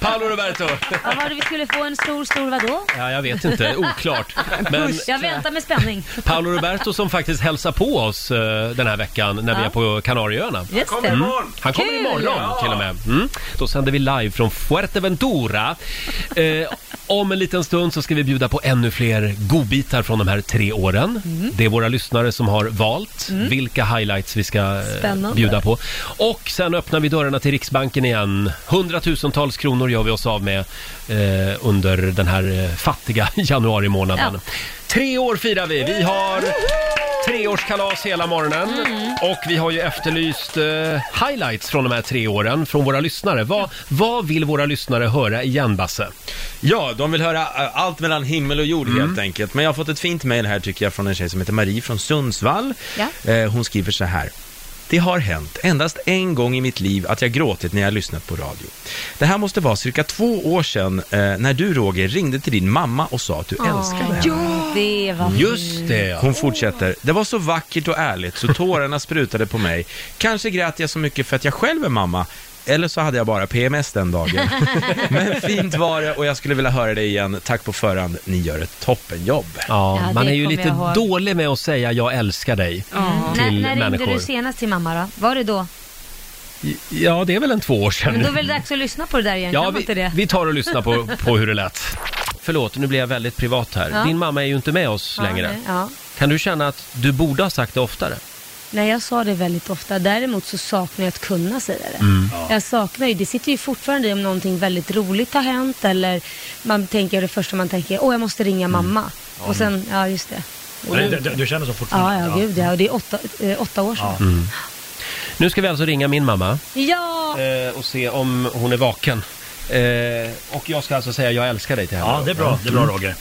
Paolo Roberto.
Ja, vad vi skulle få en stor, stor vadå?
Ja, jag vet inte, oklart. Men
Jag väntar med spänning.
Paolo Roberto som faktiskt hälsar på oss eh, den här veckan när vi
Ja.
är på Kanarieöarna.
Just Han kommer det. imorgon.
Han kommer
Kul!
imorgon
Ja.
till och med. Mm. Då sänder vi live från Fuerteventura. Eh, om en liten stund så ska vi bjuda på ännu fler godbitar från de här tre åren.
Mm.
Det är våra lyssnare som har valt
Mm.
vilka highlights vi ska eh,
Spännande.
bjuda på. Och sen öppnar vi dörrarna till Riksbanken igen. Hundratusentals kronor gör vi oss av med eh, under den här eh, fattiga januari månaden.
Ja.
Tre år firar vi. Vi har treårskalas hela morgonen
Mm.
och vi har ju efterlyst eh, highlights från de här tre åren från våra lyssnare. Vad, vad vill våra lyssnare höra igen, Basse?
Ja, de vill höra eh, allt mellan himmel och jord
Mm.
helt enkelt. Men jag har fått ett fint mejl här tycker jag från en tjej som heter Marie från Sundsvall.
Ja.
Eh, Hon skriver så här. Det har hänt endast en gång i mitt liv att jag gråtit när jag lyssnat på radio. Det här måste vara cirka två år sedan eh, när du Roger ringde till din mamma och sa att du älskar henne.
Ja, det var
Just det. Hon fortsätter. Det var så vackert och ärligt så tårarna sprutade på mig. Kanske grät jag så mycket för att jag själv är mamma. Eller så hade jag bara PMS den dagen. Men fint var det och jag skulle vilja höra det igen. Tack på förhand, ni gör ett toppenjobb.
Ja,
det
man är ju
kommer jag
lite
ihåg.
dålig med att säga jag älskar dig till
när, när ringde
människor.
du senast till mamma då? Var det då?
Ja, det är väl en två år sedan.
Men då är väl det dags att lyssna på det där igen?
Ja,
kan man inte
vi,
det?
vi tar och lyssnar på, på hur det lät. Förlåt, nu blir jag väldigt privat här.
Ja.
Din mamma är ju inte med oss
Ja,
längre.
nej, ja.
Kan du känna att du borde ha sagt det oftare?
Nej, jag sa det väldigt ofta. Däremot så saknar jag att kunna säga det.
Mm. Ja.
Jag saknar ju, det sitter ju fortfarande i om någonting väldigt roligt har hänt eller man tänker, det första man tänker, åh jag måste
Mm.
ringa mamma.
Ja.
Och sen, ja just det. Och
Du,
nu-
du, du känner så
Ja,
fortfarande?
ja, gud ja. Och det är åtta, eh, åtta år sedan.
Mm. Nu ska vi alltså ringa min mamma
Ja,
eh, och se om hon är vaken. Eh, och jag ska alltså säga jag älskar dig till henne.
Ja, det är bra. Det är bra
Mm.
Roger.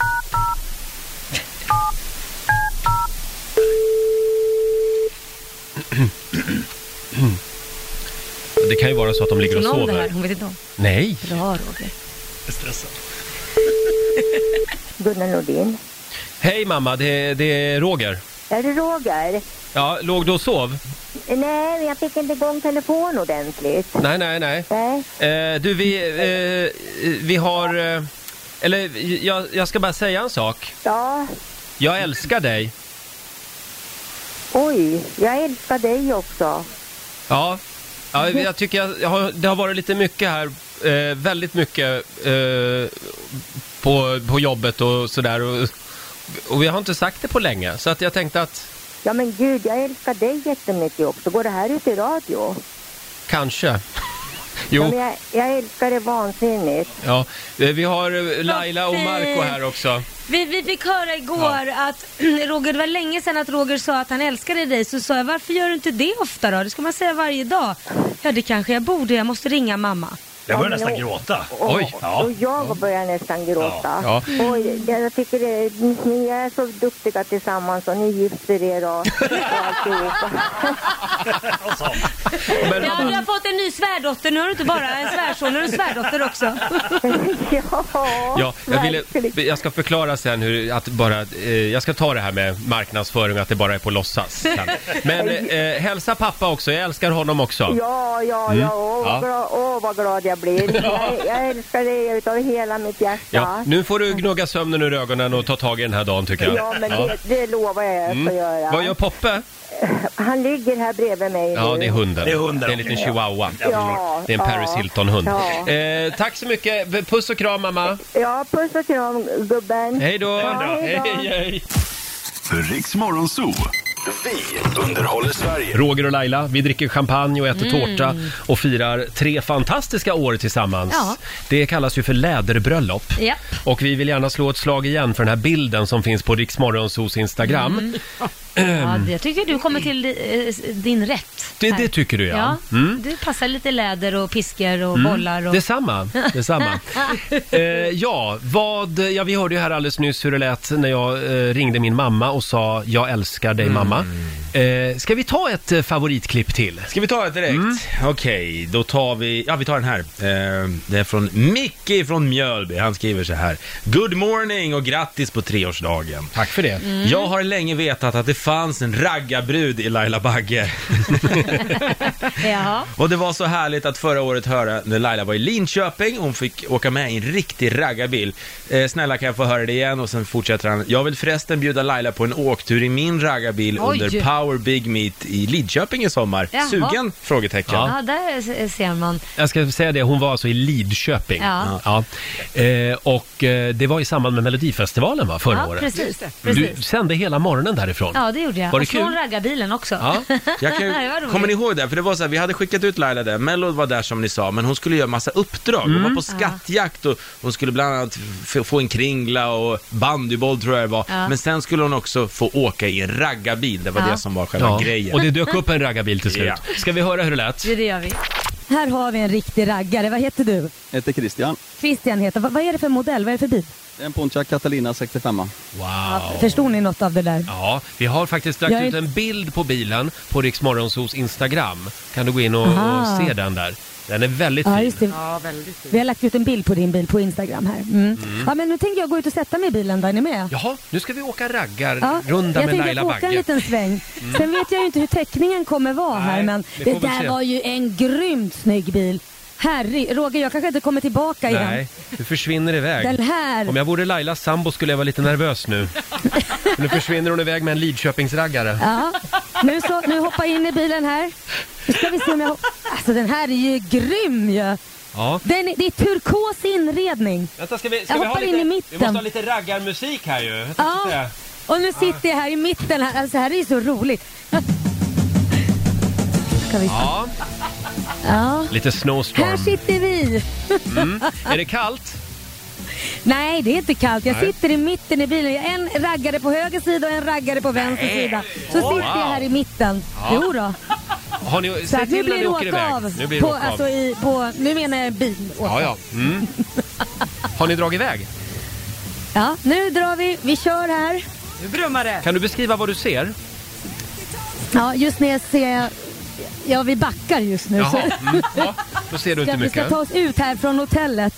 Det kan ju vara så att de ligger och
hon om det här?
sover.
Hon vet inte om.
Nej.
Bra Roger.
Stressad.
Gunnar Nordin.
Hej mamma, det, det är Roger.
Är det Roger?
Ja, låg du och sov?
Nej, men jag fick inte igång telefon ordentligt.
Nej, nej, nej. Eh, du, vi, eh, vi har... Eh, eller jag, jag ska bara säga en sak.
Ja,
Jag älskar dig.
oj, jag älskar dig också.
Ja, ja jag tycker jag, jag har, det har varit lite mycket här. Eh, väldigt mycket eh, på, på jobbet och sådär. Och, och vi har inte sagt det på länge, så att jag tänkte att
Ja, men gud, jag älskar dig jättemycket också. Går det här ut i radio?
kanske.
Ja,
Jo,
men jag, jag älskar dig vansinnigt.
ja. Eh, Vi har eh, Laila och Marco här också.
Vi, vi fick höra igår att Roger, det var länge sedan att Roger sa att han älskade dig, så sa jag varför gör du inte det ofta då? Det ska man säga varje dag. Ja, det kanske jag borde, jag måste ringa mamma.
Jag
Ja,
börjar
men
nästan
och-
gråta.
Och,
Ja.
och jag börjar nästan gråta.
Ja. Ja.
Och jag jag tycker det, ni är så duktiga tillsammans och ni gifter er och, och alltihopa.
Men... Ja, du har fått en ny svärdotter, nu har du inte bara en svärson, nu har du en svärdotter också.
Ja, jag, ville, jag ska förklara sen hur att bara, eh, jag ska ta det här med marknadsföring och att det bara är på låtsas. sen. Men eh, hälsa pappa också, jag älskar honom också.
Ja, ja,
Mm.
ja. Åh, vad,
Ja.
Glad, åh vad glad jag blir. Jag, jag älskar dig utav hela mitt hjärta.
Ja, nu får du gnugga sömnen ur ögonen och ta tag i den här dagen tycker jag.
Ja, men Det, det lovar jag att jag ska
Mm.
göra.
Vad gör Poppe?
Han ligger här bredvid mig
Ja,
nu.
det är hunden.
Det är hunden,
en
okej.
liten chihuahua.
Ja,
det är en Paris
ja.
Hilton-hund.
Ja.
Eh, tack så mycket. Puss och kram, mamma.
Ja, puss och kram gubben.
Hej då!
Ja, hej då.
hej.
Riks Morgonzoo. Vi underhåller Sverige.
Roger och Laila, vi dricker champagne och äter
Mm.
tårta och firar tre fantastiska år tillsammans.
Ja.
Det kallas ju för läderbröllop.
Japp.
Och vi vill gärna slå ett slag igen för den här bilden som finns på Rix Morgonzos Instagram.
Mm.
Ehm.
Ja, det- jag tycker du kommer till eh, din rätt.
Det,
här.
det tycker du ja.
Ja,
Mm.
Du passar lite läder och piskor och
Mm.
bollar. Och...
Detsamma, detsamma. eh, ja, vad, ja, vi hörde ju här alldeles nyss hur det lät när jag eh, ringde min mamma och sa jag älskar dig mamma. Eh, ska vi ta ett eh, favoritklipp till?
Ska vi ta det direkt?
Mm.
Okej, då tar vi, ja vi tar den här. Eh, det är från Micke från Mjölby, han skriver så här. Good morning och grattis på treårsdagen.
Tack för det.
Mm.
Jag har länge vetat att det fanns en raggarbrud i Laila Bagge.
Jaha.
Och det var så härligt att förra året höra när Laila var i Linköping, hon fick åka med i en riktig raggarbil. Eh, snälla kan jag få höra det igen? Och sen fortsätter han. Jag vill förresten bjuda Laila på en åktur i min raggarbil
Oj.
under Power Big Meet i Lidköping i sommar.
Jaha.
Sugen? Frågetecken.
Ja. där se- ser man.
Jag ska säga det, hon var alltså i Lidköping.
Ja.
Ja. Eh, och eh, det var i samband med Melodifestivalen va, förra
Ja,
året?
precis. Just det,
Du
precis.
sände hela morgonen därifrån.
Ja, det gjorde jag.
Var det
och från
kul?
raggarbilen också.
Ja, jag kan,
det var roligt.
kommer ni ihåg det? För det var så här, vi hade skickat ut Laila där, Mello var där som ni sa, men hon skulle göra massa uppdrag. Hon
Mm.
var på skattjakt och hon skulle bland annat f- få en kringla och bandyboll tror jag det var.
Ja.
Men sen skulle hon också få åka i en raggarbil, det var
Ja.
det som var själva
Ja,
grejen.
och det dök upp en raggarbil till slut. Ska vi höra hur det lät?
Jo, det gör vi.
Här har vi en riktig raggare. Vad heter du?
Jag heter Christian.
Christian heter. Vad, vad är det för modell? Vad är det för bil?
Det är en Pontiac Catalina 65.
Wow!
Förstod ni något av det där?
Ja, vi har faktiskt lagt
Jag är
ut en bild på bilen på Rix Morgonzos Instagram. Kan du gå in och, och
Aha.
se den där? Den är väldigt
Ja,
fin.
just det. Vi har lagt ut en bild på din bil på Instagram här. Mm.
Mm.
Ja, men nu tänker jag gå ut och sätta mig i bilen. Där är ni med?
Jaha, nu ska vi åka
Ja,
raggarrunda
jag
med
tänker
Laila
att åka en
Bagge.
liten sväng.
Mm.
Sen vet jag ju inte hur teckningen kommer vara här, men
vi
det
får väl
där
se.
var ju en grymt snygg bil. Herre, Roger, jag kanske inte kommer tillbaka i den.
Nej, du försvinner iväg.
Den här.
Om jag vore Lailas sambo skulle jag vara lite nervös nu. För nu försvinner hon iväg med en Lidköpingsraggare.
Ja. Nu, så, nu hoppar jag in i bilen här. Nu ska vi se om jag... hop- Alltså den här är ju grym ju!
Ja.
Den, är- det är turkos inredning.
Vänta, ska
Jag hoppar in i mitten.
lite raggarmusik här ju. Jag
Ja.
tänkte säga.
Och nu sitter jag här i mitten här. Alltså det här är ju så roligt. Ska vi se.
Ja,
Ja.
lite
Här
snowstorm.
sitter vi.
Mm. Är det kallt?
Nej, det är inte kallt. Jag
Nej.
sitter i mitten i bilen. Jag har En raggare på höger sida och en raggare på vänster
Nej.
sida. Så
Åh,
sitter jag
wow.
här i mitten.
Ja.
Jo då.
Har ni,
Så
säg
att nu
till när
blir
ni
det
åker
åka
iväg.
av.
Nu blir det
på,
åka av.
alltså, i, på, nu menar jag bil.
Ja,
åka.
ja. Mm. Har ni dragit iväg?
Ja, nu drar vi. Vi kör här.
Nu brummar det.
Kan du beskriva vad du ser?
Ja, just nu ser jag... Ja, vi backar just nu.
Jaha,
så-
mm. ja, då ser du
Ja,
inte
vi ska
mycket.
ta oss ut här från hotellet.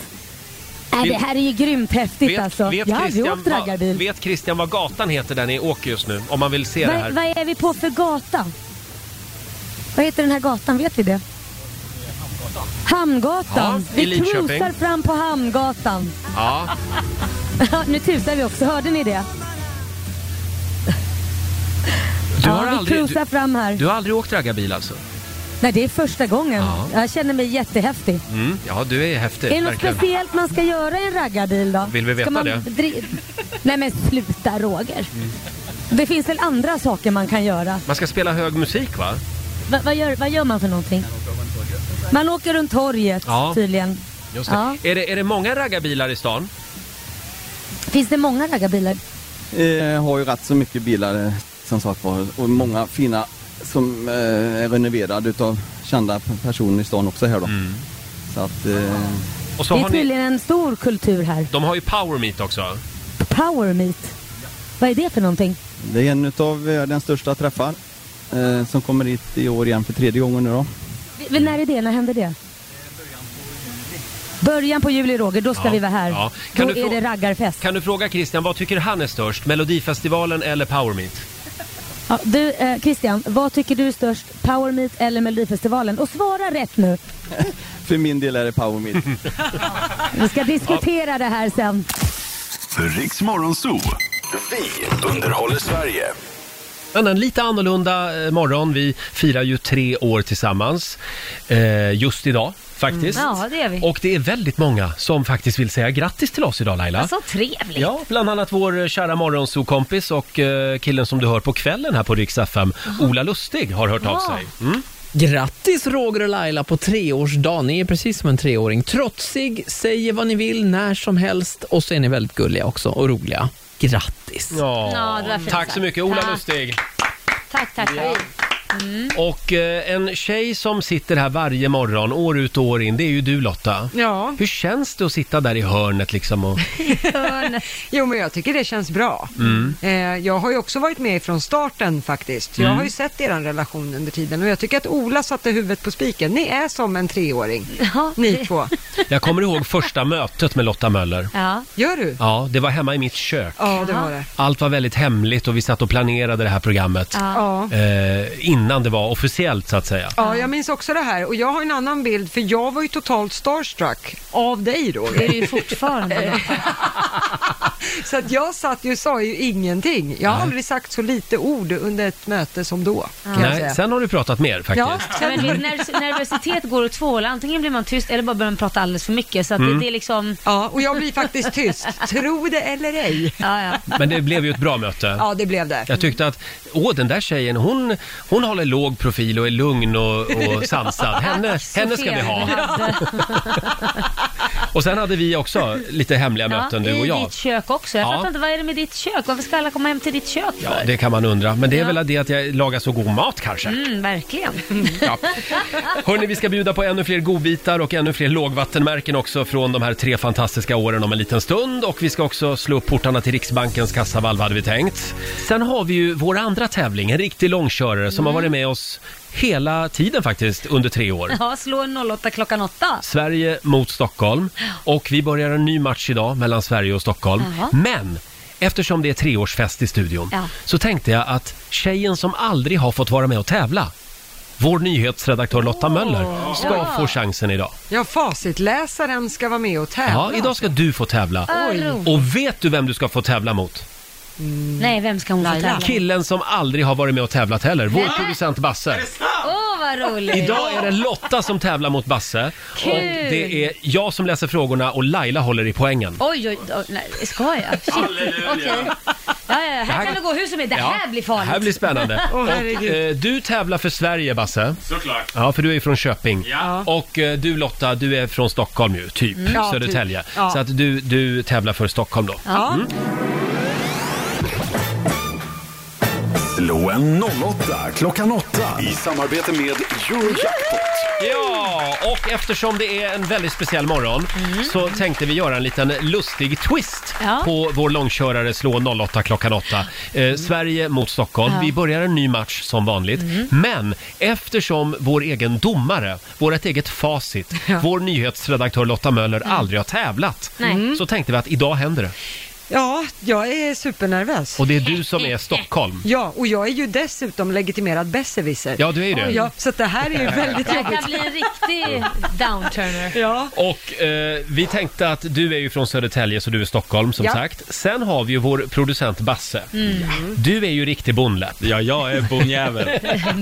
Äh,
Vet-
det här är ju grymt häftigt alltså.
vet,
ja, vi
Christian
åkte
vad,
raggarbil.
vet Christian vad gatan heter där ni åker just nu? Om man vill se det
Vad,
här.
vad är vi på för gata? Vad heter den här gatan? Vet vi det? Hamngatan.
Ja, i
vi
Linköping.
cruisar fram på Hamngatan.
Ja.
nu tusar vi också. Hörde ni det?
Du,
ja,
har
vi
aldrig,
cruisar
du,
fram här.
du har aldrig åkt raggarbil alltså?
Nej, det är första gången.
Ja.
Jag känner mig jättehäftig.
Mm. Ja, du är häftig.
Är det något
verkligen.
speciellt man ska göra i en raggarbil då?
Vill vi veta
ska man
det?
dri- Nej men sluta Roger. Det finns väl andra saker man kan göra?
Mm. Man ska spela hög musik va?
Va- vad, gör, vad gör man för någonting? Man åker runt torget
Ja.
tydligen.
Just det.
Ja.
Är, det är det många raggarbilar i stan?
Finns det många raggarbilar?
Eh, har ju rätt så mycket bilar eh, som sagt var och många fina som eh, är renoverade utav kända p- personer i stan också här då. Så att... Eh,
Mm. Och så
Det är
har ni,
tydligen en stor kultur här.
de har ju Power Meet också.
Power meet. Vad är det för någonting?
Det är en utav världens största träffar eh, som kommer hit i år igen för tredje gången nu då.
Vi- vi- När är det? När händer det? Början på juli, Roger. Då ska
Ja,
vi vara här.
ja. Kan
Då
du
är
få-
det raggarfest.
Kan du fråga Christian, vad tycker han är störst? Melodifestivalen eller Power Meet?
Ja, du, eh, Christian, vad tycker du är störst? Power meet eller Melodifestivalen? Och svara rätt nu.
För min del är det Power Meet.
Vi ska diskutera det här sen.
Riks Morgonzoo. Vi underhåller Sverige.
En annan lite annorlunda eh, morgon. Vi firar ju tre år tillsammans eh, just idag faktiskt.
Mm. Ja, det gör vi.
Och det är väldigt många som faktiskt vill säga grattis till oss idag Laila.
Alltså trevligt.
Ja, bland annat vår eh, kära morgonsokompis och eh, killen som du hör på kvällen här på Rix FM, Ola Lustig, har hört av
Ja.
sig. Mm.
Grattis Roger och Laila på treårsdagen. Ni är precis som en treåring. Trotsig, säger vad ni vill när som helst och så är ni väldigt gulliga också och roliga. Grattis!
Ja, det var fint
Tack så
sagt.
mycket Ola
Tack.
Lustig.
Tack, tack, tack. Mm.
Och eh, en tjej som sitter här varje morgon, år ut och år in, det är ju du Lotta.
Ja.
Hur känns det att sitta där i hörnet liksom och...
jo, men jag tycker det känns bra.
Mm.
Eh, jag har ju också varit med från starten faktiskt. Jag
Mm.
har ju sett er relation under tiden och jag tycker att Ola satte huvudet på spiken. Ni är som en treåring, ni två.
Jag kommer ihåg första mötet med Lotta Möller.
Ja. Gör du?
Ja, det var hemma i mitt kök.
Ja, det var det.
Allt var väldigt hemligt och vi satt och planerade det här programmet.
Ja.
Eh, innan det var officiellt så att säga.
Ja, jag minns också det här och jag har en annan bild för jag var ju totalt starstruck av dig Roger.
Det är ju fortfarande.
så att jag satt ju och sa ju ingenting. Jag har aldrig sagt så lite ord under ett möte som då. Kan jag säga.
Nej, sen har du pratat mer faktiskt.
Ja.
Ja, men nerv- nervositet går åt två håll. Antingen blir man tyst eller bara börjar man prata alldeles för mycket. Så att
Mm.
det, det är liksom...
Ja, och jag blir faktiskt tyst. Tro det eller ej.
Ja, ja.
Men det blev ju ett bra möte.
Ja, det blev det.
Jag tyckte att, åh den där tjejen, hon, hon håller låg profil och är lugn och, och sansad. Henne, henne ska vi ha. Och sen hade vi också lite hemliga möten du och
I
jag.
ditt kök också. Jag
Ja.
fattar inte, vad är det med ditt kök? Varför ska alla komma hem till ditt kök
Ja,
för?
det kan man undra. Men det är
Ja.
väl det att jag lagar så god mat kanske.
Mm, verkligen.
Hörni, vi ska bjuda på ännu fler godbitar och ännu fler lågvattenmärken också från de här tre fantastiska åren om en liten stund. Och vi ska också slå upp portarna till Riksbankens kassavalv hade vi tänkt. Sen har vi ju vår andra tävling, en riktig långkörare som
Mm.
har varit med oss hela tiden faktiskt under tre år.
Ja, slå en 08 klockan 8.
Sverige mot Stockholm och vi börjar en ny match idag mellan Sverige och Stockholm.
Jaha.
Men eftersom det är treårsfest i studion
Ja.
så tänkte jag att tjejen som aldrig har fått vara med och tävla, vår nyhetsredaktör Lotta Möller, ska
Ja.
få chansen idag.
Ja, facitläsaren ska vara med och tävla.
Ja, idag ska du få tävla.
Ah, roligt.
Och vet du vem du ska få tävla mot?
Mm.
Nej, vem ska hon få tävla mot?
Killen som aldrig har varit med och tävlat heller, vår
Va?
producent Basse.
Åh, vad roligt!
Idag är det Lotta som tävlar mot Basse
Kul.
och det är jag som läser frågorna och Laila håller i poängen.
Oj, oj, oj, nej, ska jag? Shit, okej. Ja, ja, ja, här kan det gå hur som helst. Det
Ja,
här blir farligt.
Det här blir spännande.
Åh,
och,
herregud.
eh, du tävlar för Sverige, Basse.
Såklart.
Ja, för du är ju från Köping.
Ja.
Och eh, du Lotta, du är från Stockholm ju, typ.
Mm. Ja,
Södertälje.
typ. Ja.
Så att du, du tävlar för Stockholm då.
Ja.
Slå en 08 klockan 8 i samarbete med Eurojackpot.
Ja, och eftersom det är en väldigt speciell morgon så tänkte vi göra en liten lustig twist
Mm. Ja. Mm.
på vår långkörare Slå 08 klockan 8. Eh, Sverige mot Stockholm.
Ja. Mm.
Vi börjar en ny match som vanligt. Men eftersom vår egen domare, vårt eget facit, vår nyhetsredaktör Lotta Möller
Mm.
aldrig har tävlat
Nej.
så tänkte vi att idag händer det.
Ja, jag är supernervös.
Och det är du som är Stockholm.
Ja, och jag är ju dessutom legitimerad besserwisser.
Ja, du är ju det.
Ja, så att det här är ju väldigt
Det här kan bli
jobbigt.
en riktig downturner.
Ja.
Och eh, vi tänkte att du är ju från Södertälje så du är Stockholm som
Ja.
sagt. Sen har vi ju vår producent Basse.
Mm.
Du är ju riktig bonläpp. Ja, jag är bonjävel.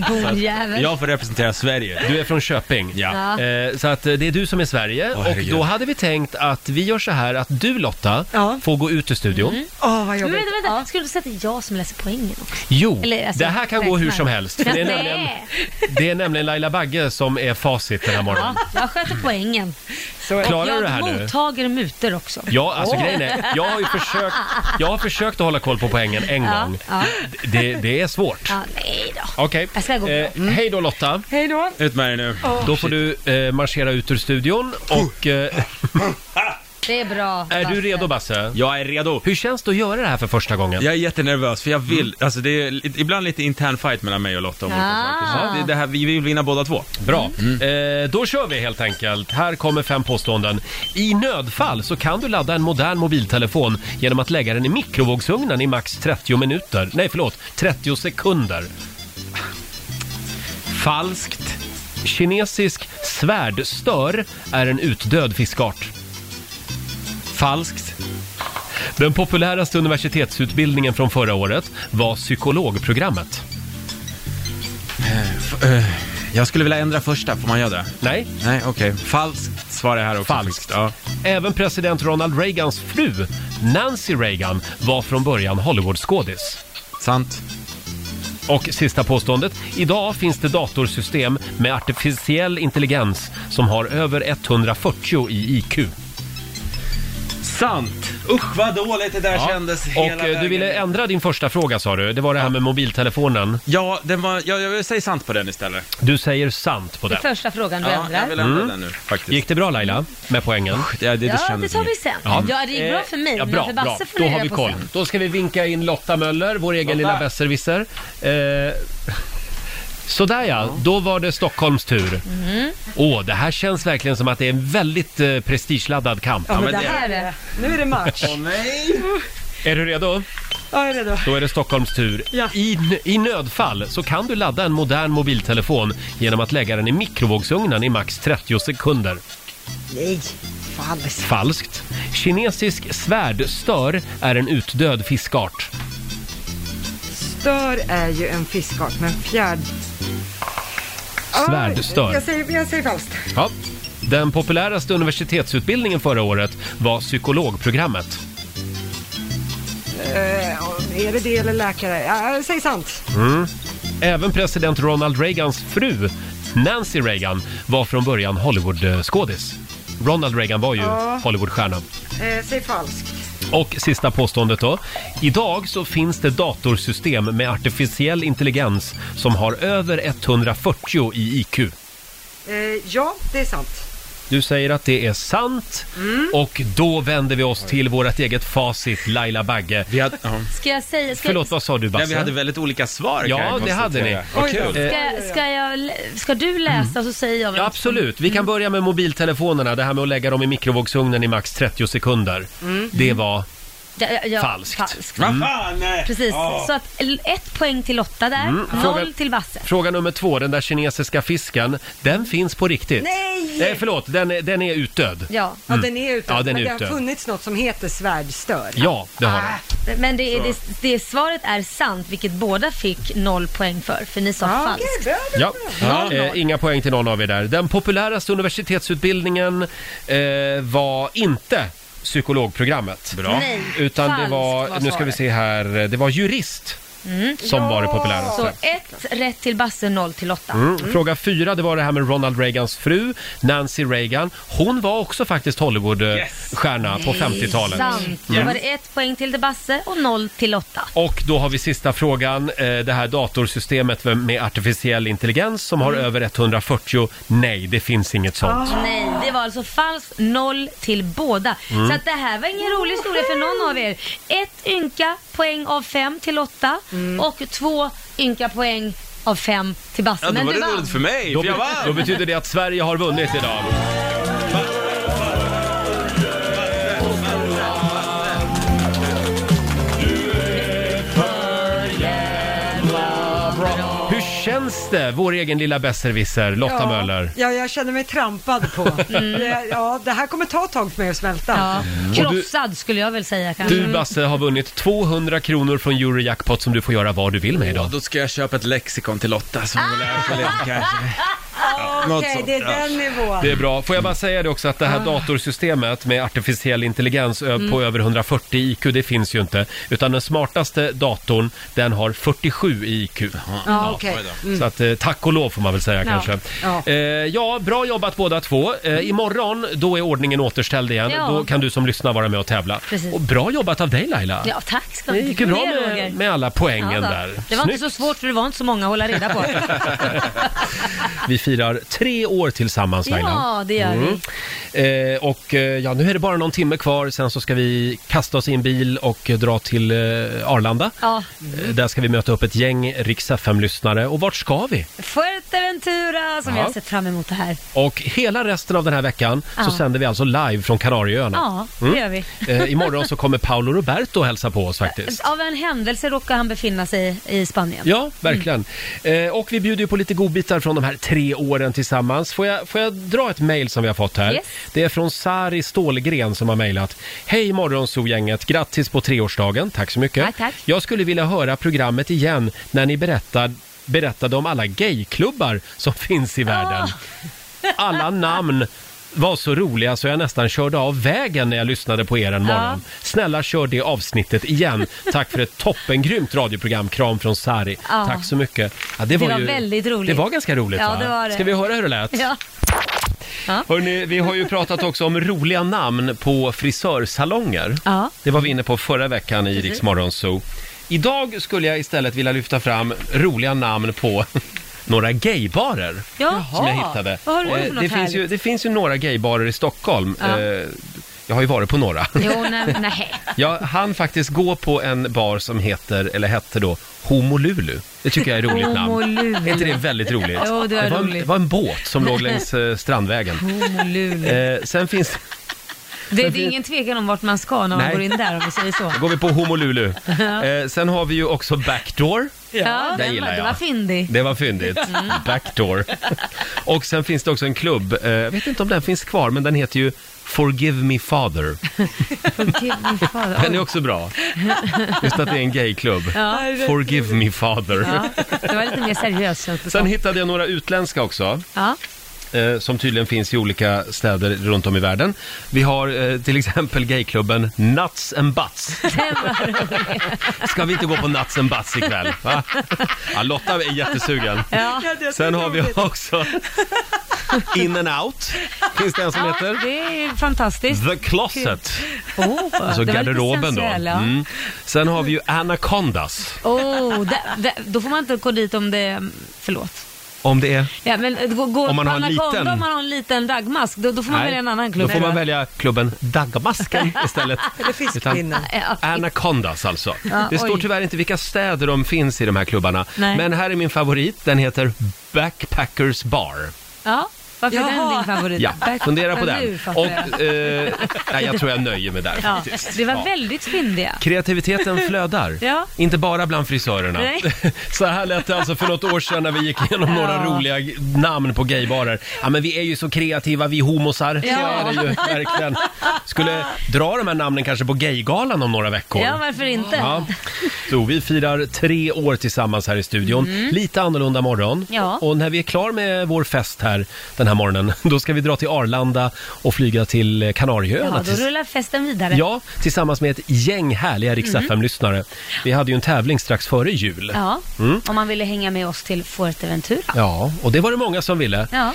Bonjävel.
får representera Sverige. Du är från Köping.
Ja.
Eh, så att eh, det är du som är Sverige. och
herregud.
då hade vi tänkt att vi gör så här att du Lotta får gå ut ur studion.
Åh, vad
Mm. Men vänta, vänta. Skulle du säga att det är jag som läser poängen också?
Jo,
Eller, alltså,
det här kan gå hur
räknar.
som helst. För det, är
Nej.
nämligen, det är nämligen Laila Bagge som är facit den här morgonen.
Ja, jag sköter poängen.
är det.
Och
Klarar
jag
du det här nu?
mottager mutor också.
Ja, alltså
Åh.
grejen är, jag har ju försökt, jag har försökt att hålla koll på poängen en
Ja,
gång.
ja.
Det, det är svårt.
Ja, nej då.
Okej,
Jag ska gå Mm. bra.
eh, hej då Lotta.
Hej då.
Ut med dig nu.
Åh.
Då får du eh, marschera ut ur studion och... Eh,
Det är bra.
är du
Basse.
redo Basse?
Jag är redo.
Hur känns det att göra det här för första gången? Mm.
Jag är jättenervös för jag vill, alltså det är li- ibland lite intern fight mellan mig och Lotta om olika
Ah.
saker. Så det, det här, vi vill vinna båda två. Mm.
Bra. Eh, då kör vi helt enkelt. Här kommer fem påståenden. I nödfall så kan du ladda en modern mobiltelefon genom att lägga den i mikrovågsugnen i max 30 minuter. Nej, förlåt. 30 sekunder. Falskt. Kinesisk svärdstör är en utdöd fiskart. Falskt. Den populäraste universitetsutbildningen från förra året var psykologprogrammet. Mm.
Eh, Jag skulle vilja ändra första, får man göra det?
Nej.
Nej, okej. Falskt svarar jag här också. Falskt, ja.
Även president Ronald Reagans fru, Nancy Reagan, var från början Hollywoodskådis.
Sant.
Och sista påståendet. Idag finns det datorsystem med artificiell intelligens som har över 140 i IQ.
Sant. Usch vad dåligt det där kändes hela
Och eh, du ville ändra din första fråga sa du. Det var det här med mobiltelefonen.
Ja, den var, jag, jag säger sant på den istället.
Du säger sant på
Det
den.
är första frågan du
Ja,
ändrar.
jag
Mm.
vill ändra den nu faktiskt.
Mm. Gick det bra Laila med poängen?
Ja, det, Eh,
ja, det tar vi sen. Ja, det gick bra för mig,
Ja,
men
bra,
för
bra.
Basse får
Då
ni
har
reda
vi
på
koll.
sen.
Då ska vi vinka in Lotta Möller, vår egen lilla besserwisser. Eh, sådär ja, då var det Stockholms tur.
Mm.
Åh, det här känns verkligen som att det är en väldigt eh, prestigeladdad kamp.
Ja, men det här är Nu är det match.
Åh nej!
Är du redo?
Jag är redo.
Då är det Stockholms tur.
Ja.
I, I nödfall så kan du ladda en modern mobiltelefon genom att lägga den i mikrovågsugnen i max 30 sekunder.
Nej, falskt.
Falskt. Kinesisk svärdstör är en utdöd fiskart.
Stör är ju en fiskart, men fjärd... Ah,
Svärdstör.
Jag säger, jag säger falskt.
Ja. Den populäraste universitetsutbildningen förra året var psykologprogrammet.
Eh, är det det eller läkare? Ja, jag säger sant.
Mm. Även president Ronald Reagans fru, Nancy Reagan, var från början Hollywoodskådis. Ronald Reagan var ju
Ja.
Hollywoodstjärna.
Eh, säg falskt.
Och sista påståendet då. Idag så finns det datorsystem med artificiell intelligens som har över 140 i IQ.
Eh, ja, det är sant.
Du säger att det är sant
Mm.
och då vänder vi oss till vårt eget facit, Laila Bagge.
Ska jag säga... Ska,
Förlåt, vad sa du Basse?
Nej, vi hade väldigt olika svar kan
Ja,
jag
det hade ni. Eh, Mm.
konstatera. Vad kul.
Ska, ska, jag, lä- ska du läsa så säger jag...
Ja,
vad-
absolut. Vi kan börja med mobiltelefonerna. Det här med att lägga dem i mikrovågsugnen i max 30 sekunder.
Mm.
Det var
Ja, ja, ja,
falskt.
falskt.
Mm.
Precis,
Ja.
så att l- ett poäng till Lotta där,
Mm. Fråga-
noll till Basse.
Fråga nummer två, den där kinesiska fisken, den finns på riktigt.
Nej!
Nej, Eh, förlåt, den är, den är utdöd.
Ja.
Ja,
Mm.
den är ute.
Ja, den är
men det
ute.
har funnits något som heter svärdstör. Ah.
Ja, det har den.
Ah. Men det,
Så.
det, det svaret är sant, vilket båda fick noll poäng för, för ni sa
Ah,
falskt.
Ja.
Ja.
Eh, inga poäng till någon av er där. Den populäraste universitetsutbildningen eh, var inte psykologprogrammet.
Bra. Nej,
Utan det var,
falskt
nu
var
ska vi
svaret.
se här, eh, det var jurist
Mm.
som var det populäraste.
Så ett rätt till Basse, noll till Lotta.
Mm. Fråga fyra, det var det här med Ronald Reagans fru, Nancy Reagan. Hon var också faktiskt Hollywoodstjärna på 50-talet.
Sant. Då
Mm.
var det ett poäng till till Basse och noll till Lotta.
Och då har vi sista frågan, eh, det här datorsystemet med artificiell intelligens som
Mm.
har över 140. Nej, det finns inget sånt.
Nej, det var alltså falskt noll till båda.
Mm.
Så att det här var ingen rolig historia för någon av er. Ett ynka poäng av fem till Lotta och två ynka poäng av fem till Basse.
Ja, då
Men
var
du
det
vann.
roligt för mig,
Då,
för jag
be-
vann.
då betyder det att Sverige har vunnit idag. Hur känns det, vår egen lilla besserwisser, Lotta
ja,
Möller?
Ja, jag känner mig trampad på. Det- Ja, det här kommer ta ett tag för mig att svälta.
Mm. Och du-
Krossad skulle jag väl säga kanske.
Mm.
Du Basse har vunnit 200 kronor från Eurojackpot som du får göra vad du vill med idag.
Ah!
Då ska jag köpa ett lexikon till Lotta som hon lär sig lite kanske.
Något
Okej,
sånt,
det är
Ah. ja.
den nivån.
Det är bra. Får jag bara säga det också att det här datorsystemet med artificiell intelligens ö-
Mm.
på över 140 IQ, det finns ju inte. Utan den smartaste datorn, den har 47 i IQ.
Ja, okej. Mm.
Så att eh, tack och lov får man väl säga
Ja.
kanske.
Ja.
Eh, ja, bra jobbat båda två. Eh, imorgon, då är ordningen återställd igen.
Mm. Ja.
Då kan du som lyssnar vara med och tävla.
Precis.
Och bra jobbat av dig Laila.
Ja, tack ska
Det
du
gick ju bra
Det, Roger.
med, med alla poängen
Ja, då.
där.
Det var
Snyggt.
inte så svårt för det var inte så många att hålla reda på.
Vi firar tre år tillsammans, Laila.
Ja, det gör
vi. Eh, och eh, ja, nu är det bara någon timme kvar, sen så ska vi kasta oss i en bil och eh, dra till eh, Arlanda.
ja.
Eh, Där ska vi möta upp ett gäng riks lyssnare Och vart ska vi?
Fuerteventura som
Ja.
jag har sett fram emot det här.
Och hela resten av den här veckan så
Ja.
sänder vi alltså live från Kanarieöarna.
Ja, det gör vi.
Eh, imorgon så kommer Paolo Roberto hälsa på oss faktiskt.
Av en händelse råkar han befinna sig i Spanien. Mm.
Ja, verkligen. Eh, och vi bjuder ju på lite godbitar från de här tre åren tillsammans. Får jag, får jag dra ett mejl som vi har fått här?
Yes.
Det är från Sari Stålgren som har mejlat. Hej Morgonzoo-gänget, grattis på treårsdagen. Tack så mycket.
Tack, tack.
Jag skulle vilja höra programmet igen när ni berättar, berättade om alla gayklubbar som finns i världen.
Ah.
Alla namn var så roliga så jag nästan körde av vägen när jag lyssnade på er en
Ja.
morgon. Snälla kör det avsnittet igen. Tack för ett toppengrymt radioprogram. Kram från Sari.
Ja.
Tack så mycket. Ja,
Det var väldigt roligt.
Det var ganska roligt
Ja,
va?
det var det.
Ska vi höra hur det lät?
Ja.
Hörrni, vi har ju pratat också om roliga namn på frisörsalonger.
Ja.
Det var vi inne på förra veckan i
Precis.
Rix Morgon Zoo. Idag skulle jag istället vilja lyfta fram roliga namn på några gaybarer
Ja.
som jag
Jaha.
hittade.
Vad har du för
Eh,
något
det, finns ju,
härligt?
det finns ju några gaybarer i Stockholm.
Ja.
Eh, Jag har ju varit på några.
Jo, nej, nej.
Jag hann faktiskt gå på en bar som heter, eller hette då, Homolulu. Det tycker jag är ett roligt namn.
Homolulu.
Är inte det väldigt roligt?
Jo, det var
var, en,
roligt.
det var en båt som låg längs eh, strandvägen.
Homolulu.
Eh, sen finns,
Det, det är ingen tvekan om vart man ska när man
Nej.
går in där om vi säger så.
då går vi på Homolulu.
Ja.
Eh, sen har vi ju också Backdoor.
Ja,
det
den
gillar
var,
jag.
det var fyndig.
Det var fyndigt.
Mm.
Backdoor. Och sen finns det också en klubb, eh, jag vet inte om den finns kvar, men den heter ju Forgive Me Father.
Forgive me, father.
Den är också bra. Just att det är en gayklubb.
Ja.
Forgive Me Father.
Ja, det var lite mer seriöst. känns det
Sen
som.
hittade jag några utländska också.
Ja.
Eh, som tydligen finns i olika städer runt om i världen. Vi har eh, till exempel gayklubben Nuts and Butts. Ska vi inte gå på Nuts and Butts ikväll? Va? Ja, Lotta är jättesugen.
Ja. Ja, det är
Sen har vi
roligt.
också In and Out. Finns det en som
ja,
heter?
Det är ju fantastiskt.
The Closet.
Oh,
Alltså
det var lite
garderoben då.
sensuell, ja.
Mm. Sen har vi ju Anacondas.
Oh, där- där- då får man inte gå dit om det... Förlåt.
Om det är...
Ja, men gå, gå
Om man har en
Anaconda,
liten-
Om man har en liten raggmask, då, då får man
Nej,
välja en annan klubb.
Då får man välja klubben Dagmasken istället.
Eller fiskpinnen.
Utan Anacondas alltså.
Ja,
det står
oj.
tyvärr inte vilka städer de finns i de här klubbarna.
Nej.
Men här är min favorit. Den heter Backpackers Bar.
Ja, varför är den
Jaha.
din favorit?
Ja,
Back-
fundera på
Ja,
den.
nu fattar
Och, eh, nej, jag tror jag nöjer mig där
jag. Ja,
faktiskt.
det var
Ja.
väldigt fyndiga.
Kreativiteten flödar.
Ja.
Inte bara bland frisörerna.
Nej.
Så här lät det alltså för något år sedan när vi gick igenom några
Ja.
roliga g- namn på gaybarer. Ja, men vi är ju så kreativa, vi homosar. Så
Ja.
är det ju verkligen. Skulle dra de här namnen kanske på gaygalan om några veckor.
Ja, varför inte?
Ja. Så vi firar tre år tillsammans här i studion.
Mm.
Lite annorlunda morgon.
Ja.
Och när vi är klar med vår fest här den här morgonen, då ska vi dra till Arlanda och flyga till Kanarieöarna
Ja, då
tills-
rullar festen vidare.
Ja, tillsammans med ett gäng härliga Rix
Mhm.
lyssnare Vi hade ju en tävling strax före jul.
Ja,
Mm.
om man ville hänga med oss till Fuerteventura.
Ja, och det var det många som ville.
Ja.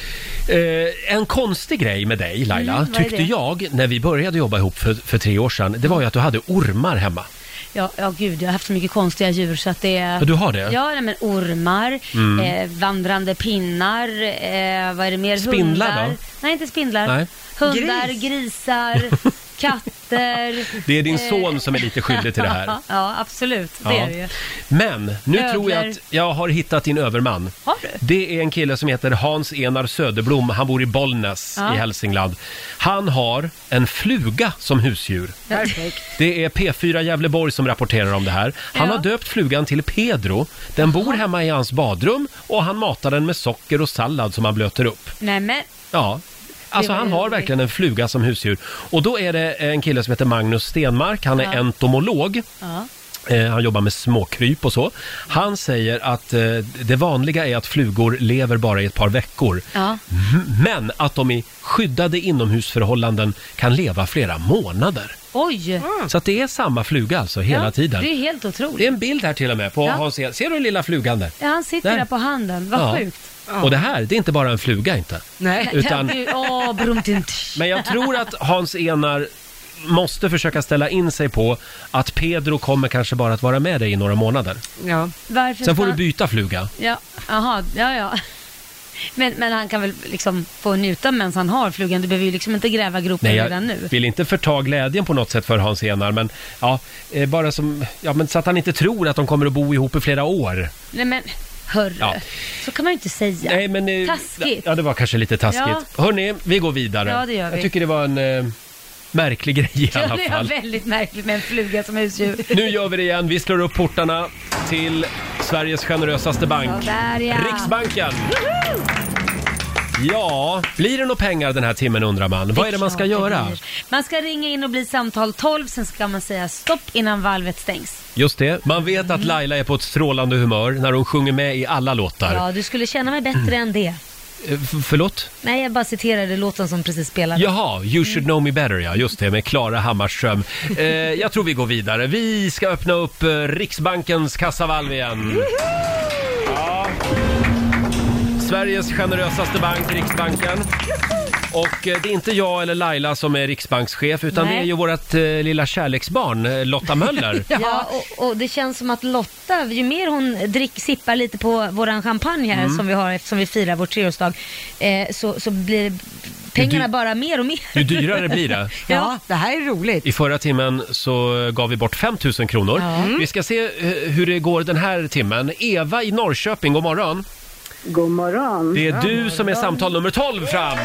Eh, en konstig grej med dig, Laila,
Mm, vad är
tyckte
det?
jag när vi började jobba ihop för, för tre år sedan, det var ju att du hade ormar hemma.
Ja, ja, gud, jag har haft så mycket konstiga djur så att det...
Ja, du har det?
Ja, nej, men ormar,
Mm.
eh, vandrande pinnar, eh, vad är det mer?
Spindlar,
Hundar.
va?
Nej, inte spindlar.
Nej.
Hundar, grisar, katter.
Det är din
eh,
son som är lite skyldig till det här.
ja, absolut. Det
Ja.
är det ju.
Men nu tror jag
Över.
att jag har hittat din överman.
Har du?
Det är en kille som heter Hans Enar Söderblom. Han bor i Bollnäs
Ja.
i Hälsingland. Han har en fluga som husdjur.
Perfekt.
Det är P4 Gävleborg som rapporterar om det här. Han
Ja.
har döpt flugan till Pedro. Den bor hemma i hans badrum och han matar den med socker och sallad som han blöter upp.
Nej, men
Ja. Alltså
Det var
han
ju
har
roligt.
verkligen en fluga som husdjur. Och då är det en kille som heter Magnus Stenmark, han är
Ja.
entomolog.
Ja.
Eh, Han jobbar med småkryp och så. Han säger att eh, det vanliga är att flugor lever bara i ett par veckor.
Ja.
M- Men att de i skyddade inomhusförhållanden kan leva flera månader.
Oj!
Så att det är samma fluga alltså hela
Ja,
tiden.
Det är ju helt otroligt.
Det är en bild här till och med på
Ja.
Hans Ser du den lilla flugan där?
Ja, han sitter
Där.
där, på handen. Vad
Ja.
sjukt.
Och det här, det är inte bara en fluga inte.
Nej.
Utan-
Det är ju- Åh, brumtint.
Men jag tror att Hans Enar måste försöka ställa in sig på att Pedro kommer kanske bara att vara med dig i några månader.
Ja.
Varför
Sen får du
fan-
byta fluga.
Ja, aha, ja, ja. Men, men han kan väl liksom få njuta medan han har flugan. Du behöver ju liksom inte gräva gropen
Nej, jag
redan nu.
vill inte förta glädjen på något sätt för Hans Enar, men ja, eh, bara som, ja, men så att han inte tror att de kommer att bo ihop i flera år.
Nej men, hörru.
Ja.
Så kan man ju inte säga.
Nej, men, eh,
Taskigt.
Ja, det var kanske lite taskigt. Hörni, vi går vidare.
Ja, det gör vi.
Jag tycker det var en eh, märklig grej i
Ja,
alla
det är
fall.
väldigt märkligt med en fluga som husdjur.
Nu gör vi det igen. Vi slår upp portarna till Sveriges generösaste bank.
Sådär ja.
Riksbanken. Ja, blir det några pengar den här timmen undrar man. Vad är det man ska göra?
Man ska ringa in och bli samtal 12, sen ska man säga stopp innan valvet stängs.
Just det, man vet
Mm.
att Laila är på ett strålande humör när hon sjunger med i alla låtar.
Ja, du skulle känna mig bättre än det.
Eh, f- förlåt?
Nej, jag bara citerade låten som precis spelades.
Jaha, You
Mm.
should know me better ja, just det, med Klara Hammarström. Eh, jag tror vi går vidare. Vi ska öppna upp eh, Riksbankens kassavalv igen. Ja. Sveriges generösaste bank, Riksbanken. Och eh, det är inte jag eller Laila som är riksbankschef utan
Nej.
det är ju vårt eh, lilla kärleksbarn eh, Lotta Möller.
Ja, och, och det känns som att Lotta, ju mer hon drick, sippar lite på våran champagne här
Mm.
som vi har eftersom vi firar vår treårsdag, eh, så, så blir pengarna
Ju dy-
bara mer och mer.
ju dyrare blir det.
ja,
det här är roligt.
I förra timmen så gav vi bort 5 000 kronor.
Ja.
Vi ska se eh, hur det går den här timmen. Eva i Norrköping, god morgon.
God morgon.
Det är du som är samtal nummer 12 fram.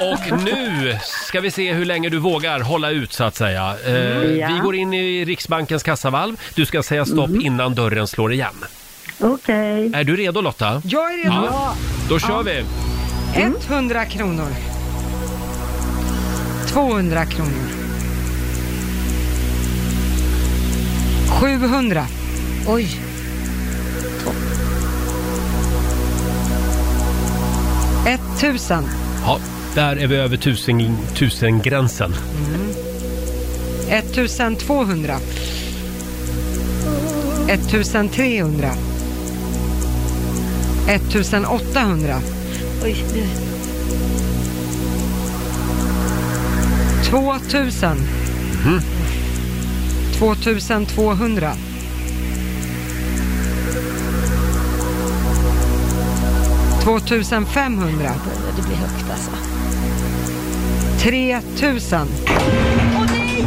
Och nu ska vi se hur länge du vågar hålla ut så att säga. Eh,
Mm, ja. Mm.
Vi går in i Riksbankens kassavalv. Du ska säga stopp innan dörren slår igen.
Okej.
Är du redo Lotta?
Jag är redo.
Ja. Då kör
Ja.
vi.
100 kronor. 200 kronor. 700.
Oj.
1000.
Ja, där är vi över tusen, tusen gränsen.
1200. 1300. 1800.
Oj, nu.
2000.
Mm.
2200. 2500.
Det blir högt alltså.
3000.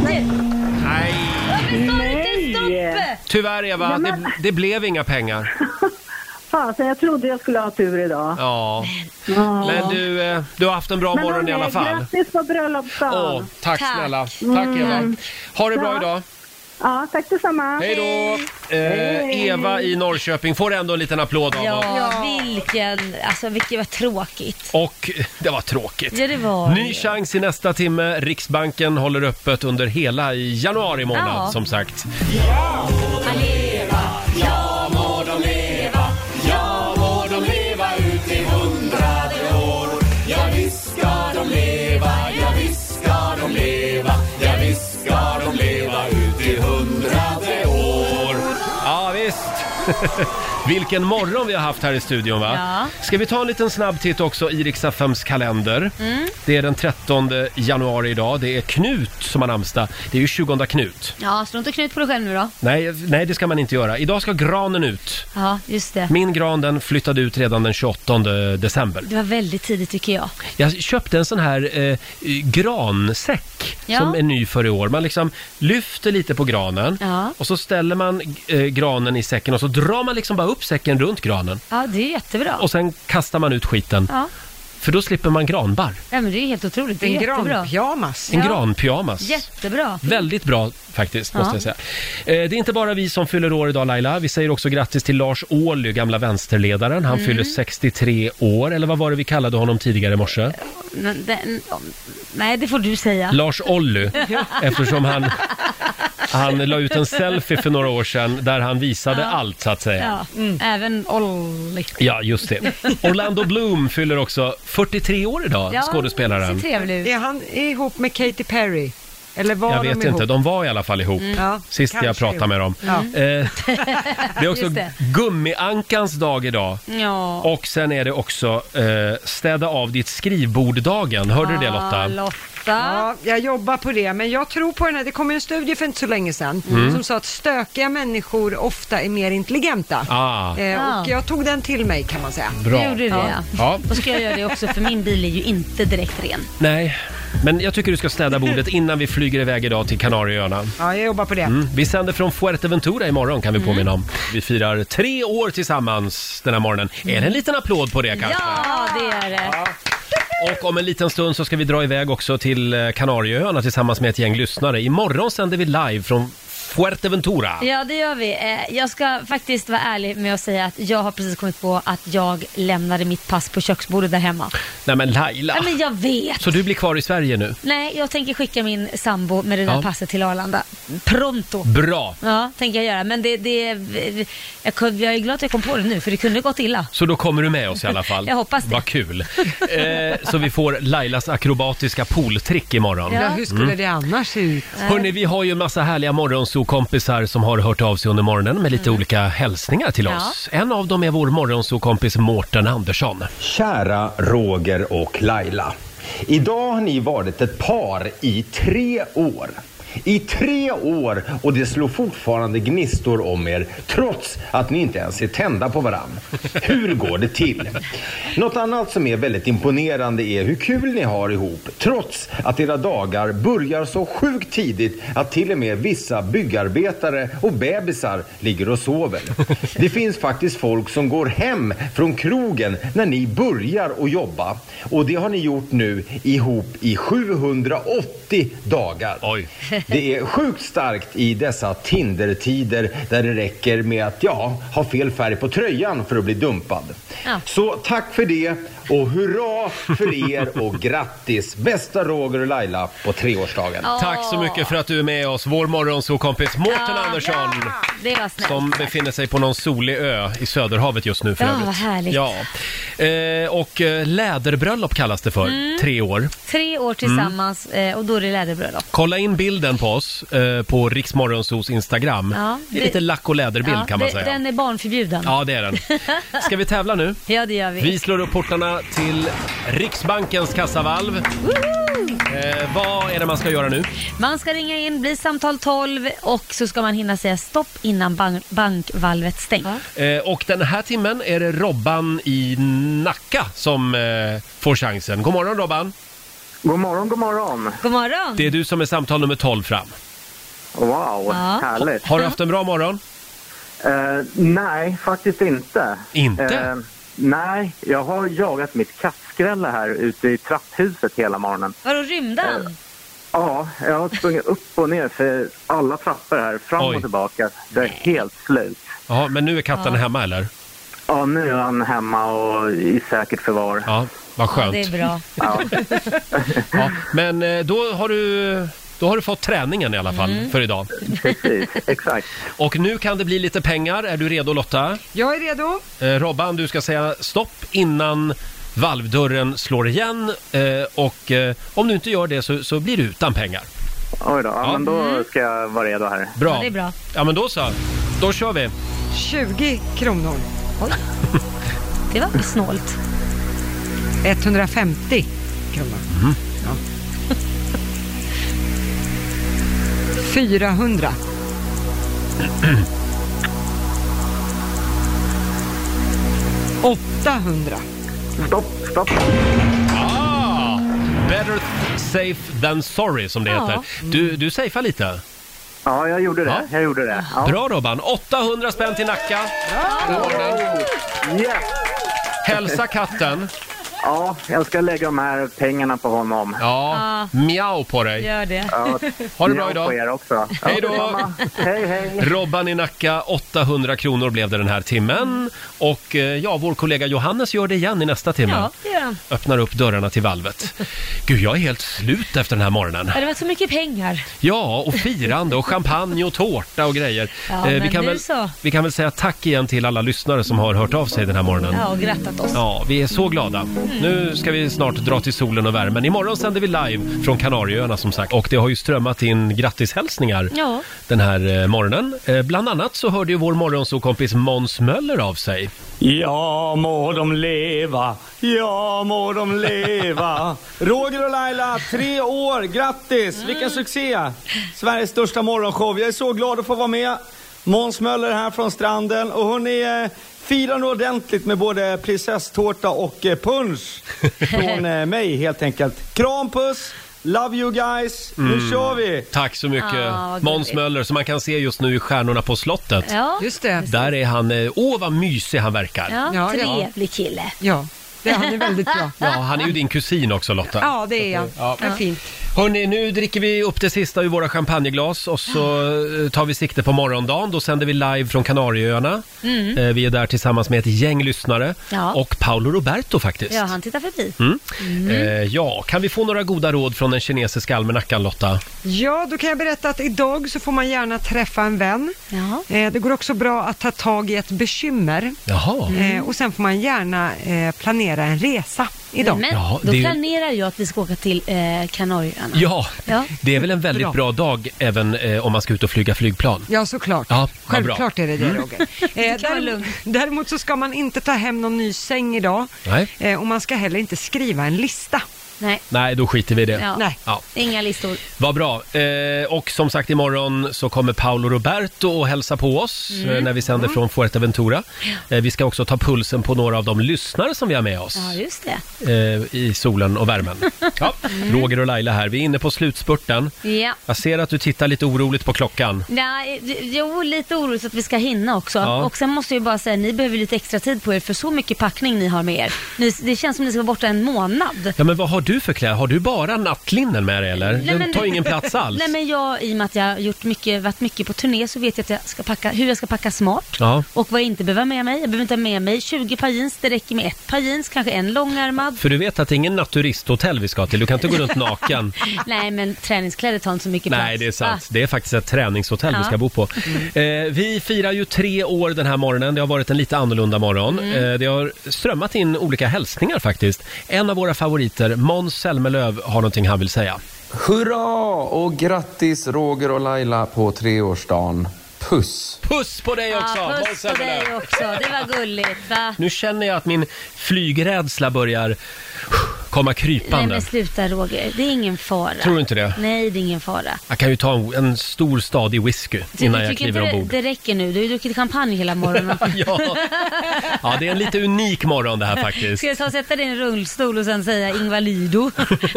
Nej!
Nej!
Varför sa du inte
Eh,
stopp?
Tyvärr Eva,
Ja, men-
det, det blev inga pengar.
Fasen, jag trodde jag skulle ha tur idag.
Ja.
Ja.
Men du, eh, du har haft en bra
Men
morgon i
hörni,
alla fall.
Grattis på bröllopsdagen.
Åh, tack, snälla. Tack
Mm.
Eva. Ha det bra
Ja.
idag.
Ja, tack detsamma.
Hej då! Eh,
Hej.
Eva i Norrköping får ändå en liten applåd av oss.
Ja, vilken, alltså vilket var tråkigt.
Och det var tråkigt.
Ja, det var
Ny chans i nästa timme. Riksbanken håller öppet under hela januari månad
Ja.
som sagt.
Ja må de leva, ja må de leva ut i hundrade år. Ja visst ska de leva, ja visst ska de leva, ja visst ska de leva ut i hundrade år.
Ja, visst. Vilken morgon vi har haft här i studion va?
Ja.
Ska vi ta en liten snabb titt också i riks kalender?
Mm.
Det är den 13 januari idag. Det är Knut som har namnsdag. Det är ju 20 Knut.
Ja, slå inte knut på dig själv nu då.
Nej, nej, det ska man inte göra. Idag ska granen ut.
Ja, just det.
Min gran den flyttade ut redan den 28 december.
Det var väldigt tidigt tycker jag.
Jag köpte en sån här eh, gransäck
Ja.
som är ny för i år. Man liksom lyfter lite på granen
Ja.
och så ställer man eh, granen i säcken och så drar man liksom bara upp säcken runt granen.
Ja, det är jättebra.
Och sen kastar man ut skiten.
Ja.
För då slipper man granbarr.
ja, men det är helt otroligt. Det är
En
jättebra.
granpyjamas.
En granpyjamas.
Jättebra.
Väldigt bra faktiskt, måste
Ja.
jag säga. Eh, Det är inte bara vi som fyller år idag Laila. Vi säger också grattis till Lars Ohly, gamla vänsterledaren. Han
Mm.
Eh,
fyller 63 år, eller vad var det vi kallade honom tidigare i morse?
Men den- Nej, det får du säga.
Lars Olly,
Ja.
eftersom han, han la ut en selfie för några år sedan där han visade
Ja.
allt så att säga.
Ja, även Olli.
Ja, just det. Orlando Bloom fyller också 43 år idag, skådespelaren.
trevlig
Är han ihop med Katy Perry? Eller var
Jag
de
vet
ihop?
inte, de var i alla fall ihop
Mm. Ja,
sist jag
kanske
pratade med dem.
ihop. Ja.
Eh, det är också
Just det.
gummiankans dag idag.
Ja.
Och sen är det också eh, städa av ditt skrivbord-dagen. Hörde
Ah,
du det
Ah,
Lotta?
Ja, jag jobbar på det, men jag tror på den här. Det kom ju en studie för inte så länge sedan
Mm.
som sa att stökiga människor ofta är mer intelligenta.
Ah.
Eh, och jag tog den till mig kan man säga.
Bra. Det gjorde du,
ja.
ja. Ja.
Då ska jag göra det också för min bil är ju inte direkt ren.
Nej, men jag tycker du ska städa bordet innan vi flyger iväg idag till Kanarieöarna.
Ja, jag jobbar på det.
Mm. Vi sänder från Fuerteventura imorgon kan vi påminna om. Vi firar tre år tillsammans den här morgonen. Är det en liten applåd på det kanske?
Ja, det är det.
Och om en liten stund så ska vi dra iväg också till eh, Kanarieöarna tillsammans med ett gäng lyssnare. Imorgon sänder vi live från Fuerteventura.
Ja, det gör vi. Eh, Jag ska faktiskt vara ärlig med att säga att jag har precis kommit på att jag lämnade mitt pass på köksbordet där hemma.
Nej men Laila!
Ja, men jag vet.
Så du blir kvar i Sverige nu?
Nej, jag tänker skicka min sambo med det där
Ja.
passet till Arlanda. Pronto.
Bra!
Ja, tänker jag göra. Men det, det, jag, kun- jag är glad att jag kom på det nu, för det kunde gått illa.
Så då kommer du med oss i alla fall.
Jag hoppas det.
Vad kul! Eh, så vi får Lailas akrobatiska pooltrick imorgon.
Ja, hur skulle
Mm.
det annars se ut?
Eh.
Hörni, vi har ju en massa härliga morgonsokompisar som har hört av sig under morgonen med lite
Mm.
olika hälsningar till
Ja.
oss. En av dem är vår morgonsokompis Mårten Andersson.
Kära Roger och Laila. Idag har ni varit ett par i tre år. I tre år och det slår fortfarande gnistor om er trots att ni inte ens är tända på varann. Hur går det till? Något annat som är väldigt imponerande är hur kul ni har ihop trots att era dagar börjar så sjukt tidigt att till och med vissa byggarbetare och bebisar ligger och sover. Det finns faktiskt folk som går hem från krogen när ni börjar att jobba. Och det har ni gjort nu ihop i 780 dagar. Det är sjukt starkt i dessa Tinder-tider där det räcker med att ja, ha fel färg på tröjan för att bli dumpad. Så tack för det och hurra för er och grattis bästa Roger och Laila på treårsdagen.
Ja.
Tack så mycket för att du är med oss, vår morgonsokompis Mårten
Ja.
Andersson.
Det var snällt.
Som befinner sig på någon solig ö i Söderhavet just nu för
Ja,
övrigt.
vad härligt.
Ja. Eh, och eh, läderbröllop kallas det för,
Mm.
tre år.
Tre år tillsammans
Mm.
eh, och då är det läderbröllop.
Kolla in bilden på oss eh, på Riksmorgonsos Instagram.
Ja,
det är
det-
lite lack och läderbild
Ja,
kan man
det-
säga.
Den är barnförbjuden.
Ja, det är den. Ska vi tävla nu?
Ja, det gör vi.
Vi slår upp portarna till Riksbankens kassavalv. Eh, vad är det man ska göra nu?
Man ska ringa in, bli samtal 12 och så ska man hinna säga stopp innan ban- bankvalvet stängs.
Eh, och den här timmen är det Robban i Nacka som eh, får chansen. God morgon Robban!
God morgon, god morgon.
God morgon!
Det är du som är samtal nummer 12 fram.
Wow,
Ja.
härligt.
Har du haft en bra morgon?
Eh, nej, faktiskt inte.
Inte?
Eh, nej, jag har jagat mitt kattskrälle här ute i trapphuset hela morgonen.
Vadå, rymde han?
Ja, jag har sprungit upp och ner för alla trappor här, fram och tillbaka. Det är helt slut.
Ja, men nu är katten
Ja.
hemma eller?
Ja, nu är han hemma och i säkert förvar.
Ja, vad skönt.
Ja, det är bra.
Ja.
Ja, men eh, då har, du, då har du fått träningen i alla fall
Mm.
för idag.
Precis, exakt.
Och nu kan det bli lite pengar. Är du redo Lotta?
Jag är redo.
Eh, Robban, du ska säga stopp innan valvdörren slår igen eh, och eh, om du inte gör det så, så blir du utan pengar.
Oj då, ja, men då ska jag vara redo här.
Bra. Mm. Ja, det är bra. Ja, men då så. Då kör vi.
20 kronor.
Oj. Det var snålt.
150 kronor.
Mm.
Ja. 400. 800.
Stopp, stopp.
Ah, better safe than sorry som det
Ja.
heter. Du, du safear lite.
Ja, jag gjorde det. Jag gjorde det. Ja.
Bra Robban. 800 spänn till Nacka.
Yes.
Hälsa katten
Ja, jag ska lägga de här pengarna på honom.
Ja, mjau på dig.
Gör det.
Ja,
Ha det bra
mjau
idag.
på er också. Ja,
Hej då!
detsamma. Hej, hej.
Robban i Nacka, 800 kronor blev det den här timmen. Och eh, ja, vår kollega Johannes gör det igen i nästa timme.
Ja, det gör han.
Öppnar upp dörrarna till valvet. Gud, jag är helt slut efter den här morgonen.
Ja, Det var så mycket pengar.
Ja, och firande och champagne och tårta och grejer.
Ja,
Eh, vi,
men
kan
nu
väl,
så.
vi kan väl säga tack igen till alla lyssnare som har hört av sig den här morgonen.
Ja, och grattat oss.
Ja, vi är så glada. Nu ska vi snart dra till solen och värmen. Imorgon sänder vi live från Kanarieöarna som sagt. Och det har ju strömmat in grattishälsningar
Ja.
den här eh, morgonen. Eh, bland annat så hörde ju vår morgonsåkompis Måns Möller av sig.
Ja må de leva, ja må de leva. Roger och Laila, tre år, grattis! Vilken succé! Sveriges största morgonshow. Jag är så glad att få vara med. Måns Möller här från stranden. Och hörni, eh, fira nu ordentligt med både prinsesstårta och eh, punsch från eh, mig helt enkelt. Kram, puss! Love you guys! Nu
Mm.
kör vi!
Tack så mycket
Ah, vad
Måns
gulligt.
Möller som man kan se just nu i Stjärnorna på slottet.
Ja. Just det.
Där är han. eh, Åh, vad mysig han verkar.
Ja, trevlig kille.
Ja, det, han är väldigt bra.
Ja, han är ju din kusin också Lotta.
Ja, det är jag.
Ja.
Ja. fint.
Hörni, nu dricker vi upp det sista ur våra champagneglas och så eh, tar vi sikte på morgondagen. Då sänder vi live från Kanarieöarna.
Mm.
Eh, Vi är där tillsammans med ett gäng lyssnare
Ja.
och Paolo Roberto faktiskt.
Ja, han tittar förbi.
Mm.
Mm.
Eh, ja, kan vi få några goda råd från den kinesiska almanackan Lotta?
Ja, då kan jag berätta att idag så får man gärna träffa en vän. Eh, det går också bra att ta tag i ett bekymmer.
Jaha.
Eh, och sen får man gärna eh, planera en resa idag.
Men då planerar jag att vi ska åka till eh, Kanarieöarna.
Ja,
Ja.
det är väl en väldigt bra,
Bra.
dag även eh, om man ska ut och flyga flygplan?
Ja, såklart.
Ja, vad bra.
Självklart är det det,
Mm.
Roger. Eh, däremot, däremot så ska man inte ta hem någon ny säng idag.
Nej.
Eh, och man ska heller inte skriva en lista.
Nej.
Nej, då skiter vi i det.
Ja. Nej.
Ja.
Inga listor.
Vad bra. Eh, och som sagt, imorgon så kommer Paolo Roberto och hälsa på oss
Mm.
eh, när vi sänder
Mm.
från Fuerteventura. Eh, vi ska också ta pulsen på några av de lyssnare som vi har med oss
Ja, Mm. just det.
eh, i solen och värmen. Ja. Roger och Laila här, vi är inne på slutspurten.
Ja.
Jag ser att du tittar lite oroligt på klockan.
Nej, jo, lite orolig så att vi ska hinna också.
Ja.
Och sen måste jag ju bara säga, ni behöver lite extra tid på er för så mycket packning ni har med er. Ni, det känns som ni ska vara borta en månad.
Ja, men vad har du för kläder? Har du bara nattlinnen med dig eller? Den tar ingen plats alls.
Nej, men jag, i och med att jag har gjort mycket, varit mycket på turné så vet jag, att jag ska packa, hur jag ska packa smart.
Ja.
Och vad jag inte behöver ha med mig. Jag behöver inte ha med mig 20 par jeans. Det räcker med ett par jeans, kanske en långärmad.
För du vet att det är ingen naturisthotell vi ska till, du kan inte gå runt naken.
Nej, men träningskläder tar inte så mycket plats. Ah,
Nej, det är sant.
Va?
Det är faktiskt ett träningshotell vi
Ja. Mm.
ska bo på. Eh, vi firar ju tre år den här morgonen. Det har varit en lite annorlunda morgon.
Mm.
Eh, det har strömmat in olika hälsningar faktiskt. En av våra favoriter, Måns Zelmerlöw, har någonting han vill säga.
Hurra och grattis Roger och Laila på treårsdagen. Puss!
Puss på dig också!
Ja,
Måns
puss på
Zelmerlöw.
dig också. Det var gulligt, va?
Nu känner jag att min flygrädsla börjar komma
Nej,
krypande.
men sluta Roger. Det är ingen fara.
Tror du inte det?
Nej, det är ingen fara.
Jag kan ju ta en, en stor stadig whisky innan
du
jag
tycker
kliver
inte det-
ombord.
Det räcker nu. Du har ju druckit champagne hela morgonen.
ja. Ja, det är en lite unik morgon det här faktiskt.
Ska jag ta och sätta dig i en rullstol och sen säga Ingvalido?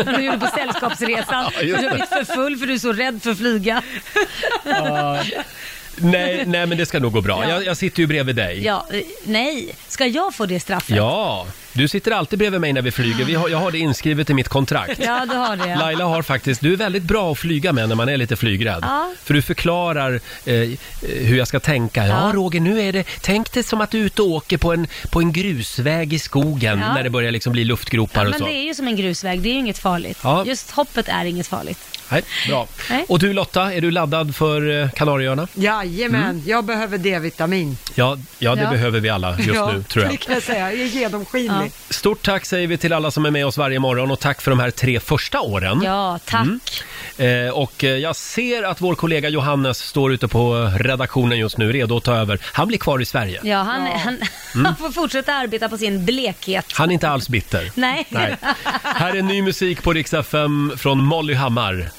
Som du gjorde på Sällskapsresan.
Ja,
du
just det.
har blivit för full för du är så rädd för att flyga.
Nej, nej, men det ska nog gå bra.
Ja.
Jag, jag sitter ju bredvid dig.
Ja, eh, nej. Ska jag få det straffet?
Ja, du sitter alltid bredvid mig när vi flyger. Vi har, jag har det inskrivet i mitt kontrakt.
Ja, du har det.
Laila har faktiskt, du är väldigt bra att flyga med när man är lite flygrädd.
Ja.
För du förklarar eh, eh, hur jag ska tänka. Ja,
Ja.
Roger, nu är det, tänk dig som att du är ute och åker på en, på en grusväg i skogen
Ja.
när det börjar liksom bli luftgropar
Ja,
och
men
så.
det är ju som en grusväg. Det är ju inget farligt.
Ja.
Just hoppet är inget farligt.
Nej, bra.
Nej.
Och du Lotta, är du laddad för eh, Kanarieöarna?
Jajamän,
Mm.
jag behöver D-vitamin.
Ja, ja, det
Ja.
behöver vi alla just
ja,
nu, tror jag.
det kan jag säga. Jag är genomskinlig.
Stort tack säger vi till alla som är med oss varje morgon och tack för de här tre första åren.
Ja, tack.
Eh, och eh, jag ser att vår kollega Johannes står ute på eh, redaktionen just nu, redo att ta över. Han blir kvar i Sverige.
Ja, han, Han,
Mm.
han får fortsätta arbeta på sin blekhet.
Han är inte alls bitter.
Nej.
Här är ny musik på Rix FM från Molly Hammar.